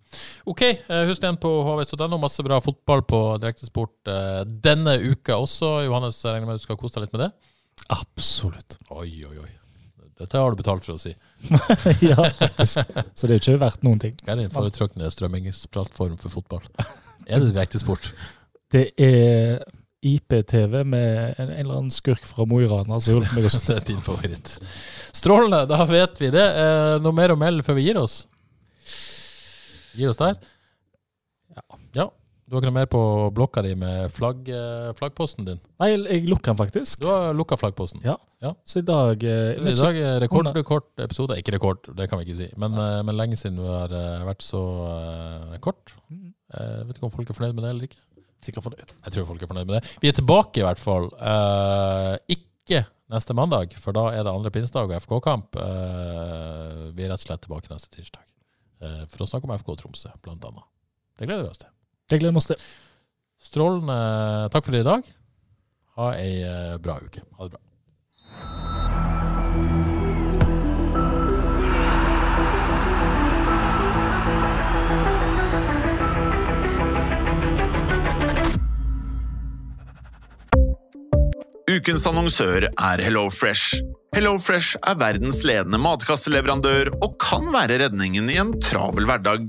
A: OK, eh, husk igjen på hv.no. Masse bra fotball på direktesport eh, denne uka også. Johannes, jeg regner med du skal kose deg litt med det? Absolutt. Oi, oi, oi. Dette har du betalt for å si.
C: [laughs] ja, faktisk. Så det er jo ikke verdt noen ting.
A: Hva er din foretrukne strømmingsplattform for fotball? [laughs] Er det direktesport?
C: Det er IPTV med en, en eller annen skurk fra Mo i Rana som hjalp meg å
A: Det er din favoritt. Strålende, da vet vi det. Eh, noe mer å melde før vi gir oss? Gir oss der? Ja. Du har ikke noe mer på blokka di med flagg, eh, flaggposten din?
C: Nei, jeg lukker den faktisk.
A: Du har lukka flaggposten.
C: Ja. Så i dag eh,
A: I dag er rekordkort episode. Ikke rekord, det kan vi ikke si. Men, eh, men lenge siden du har eh, vært så eh, kort.
C: Mm.
A: Eh, vet ikke om folk er fornøyd med det eller ikke.
C: Sikkert fornøyd.
A: Jeg tror folk er fornøyd med det. Vi er tilbake i hvert fall. Eh, ikke neste mandag, for da er det andre pinsedag og FK-kamp. Eh, vi er rett og slett tilbake neste tirsdag eh, for å snakke om FK Tromsø, blant annet. Det gleder vi oss til.
C: Det gleder vi oss til.
A: Strålende takk for i dag. Ha ei eh, bra uke. Ha det bra.
D: Ukens annonsør er HelloFresh. HelloFresh er verdens ledende matkasseleverandør og kan være redningen i en travel hverdag.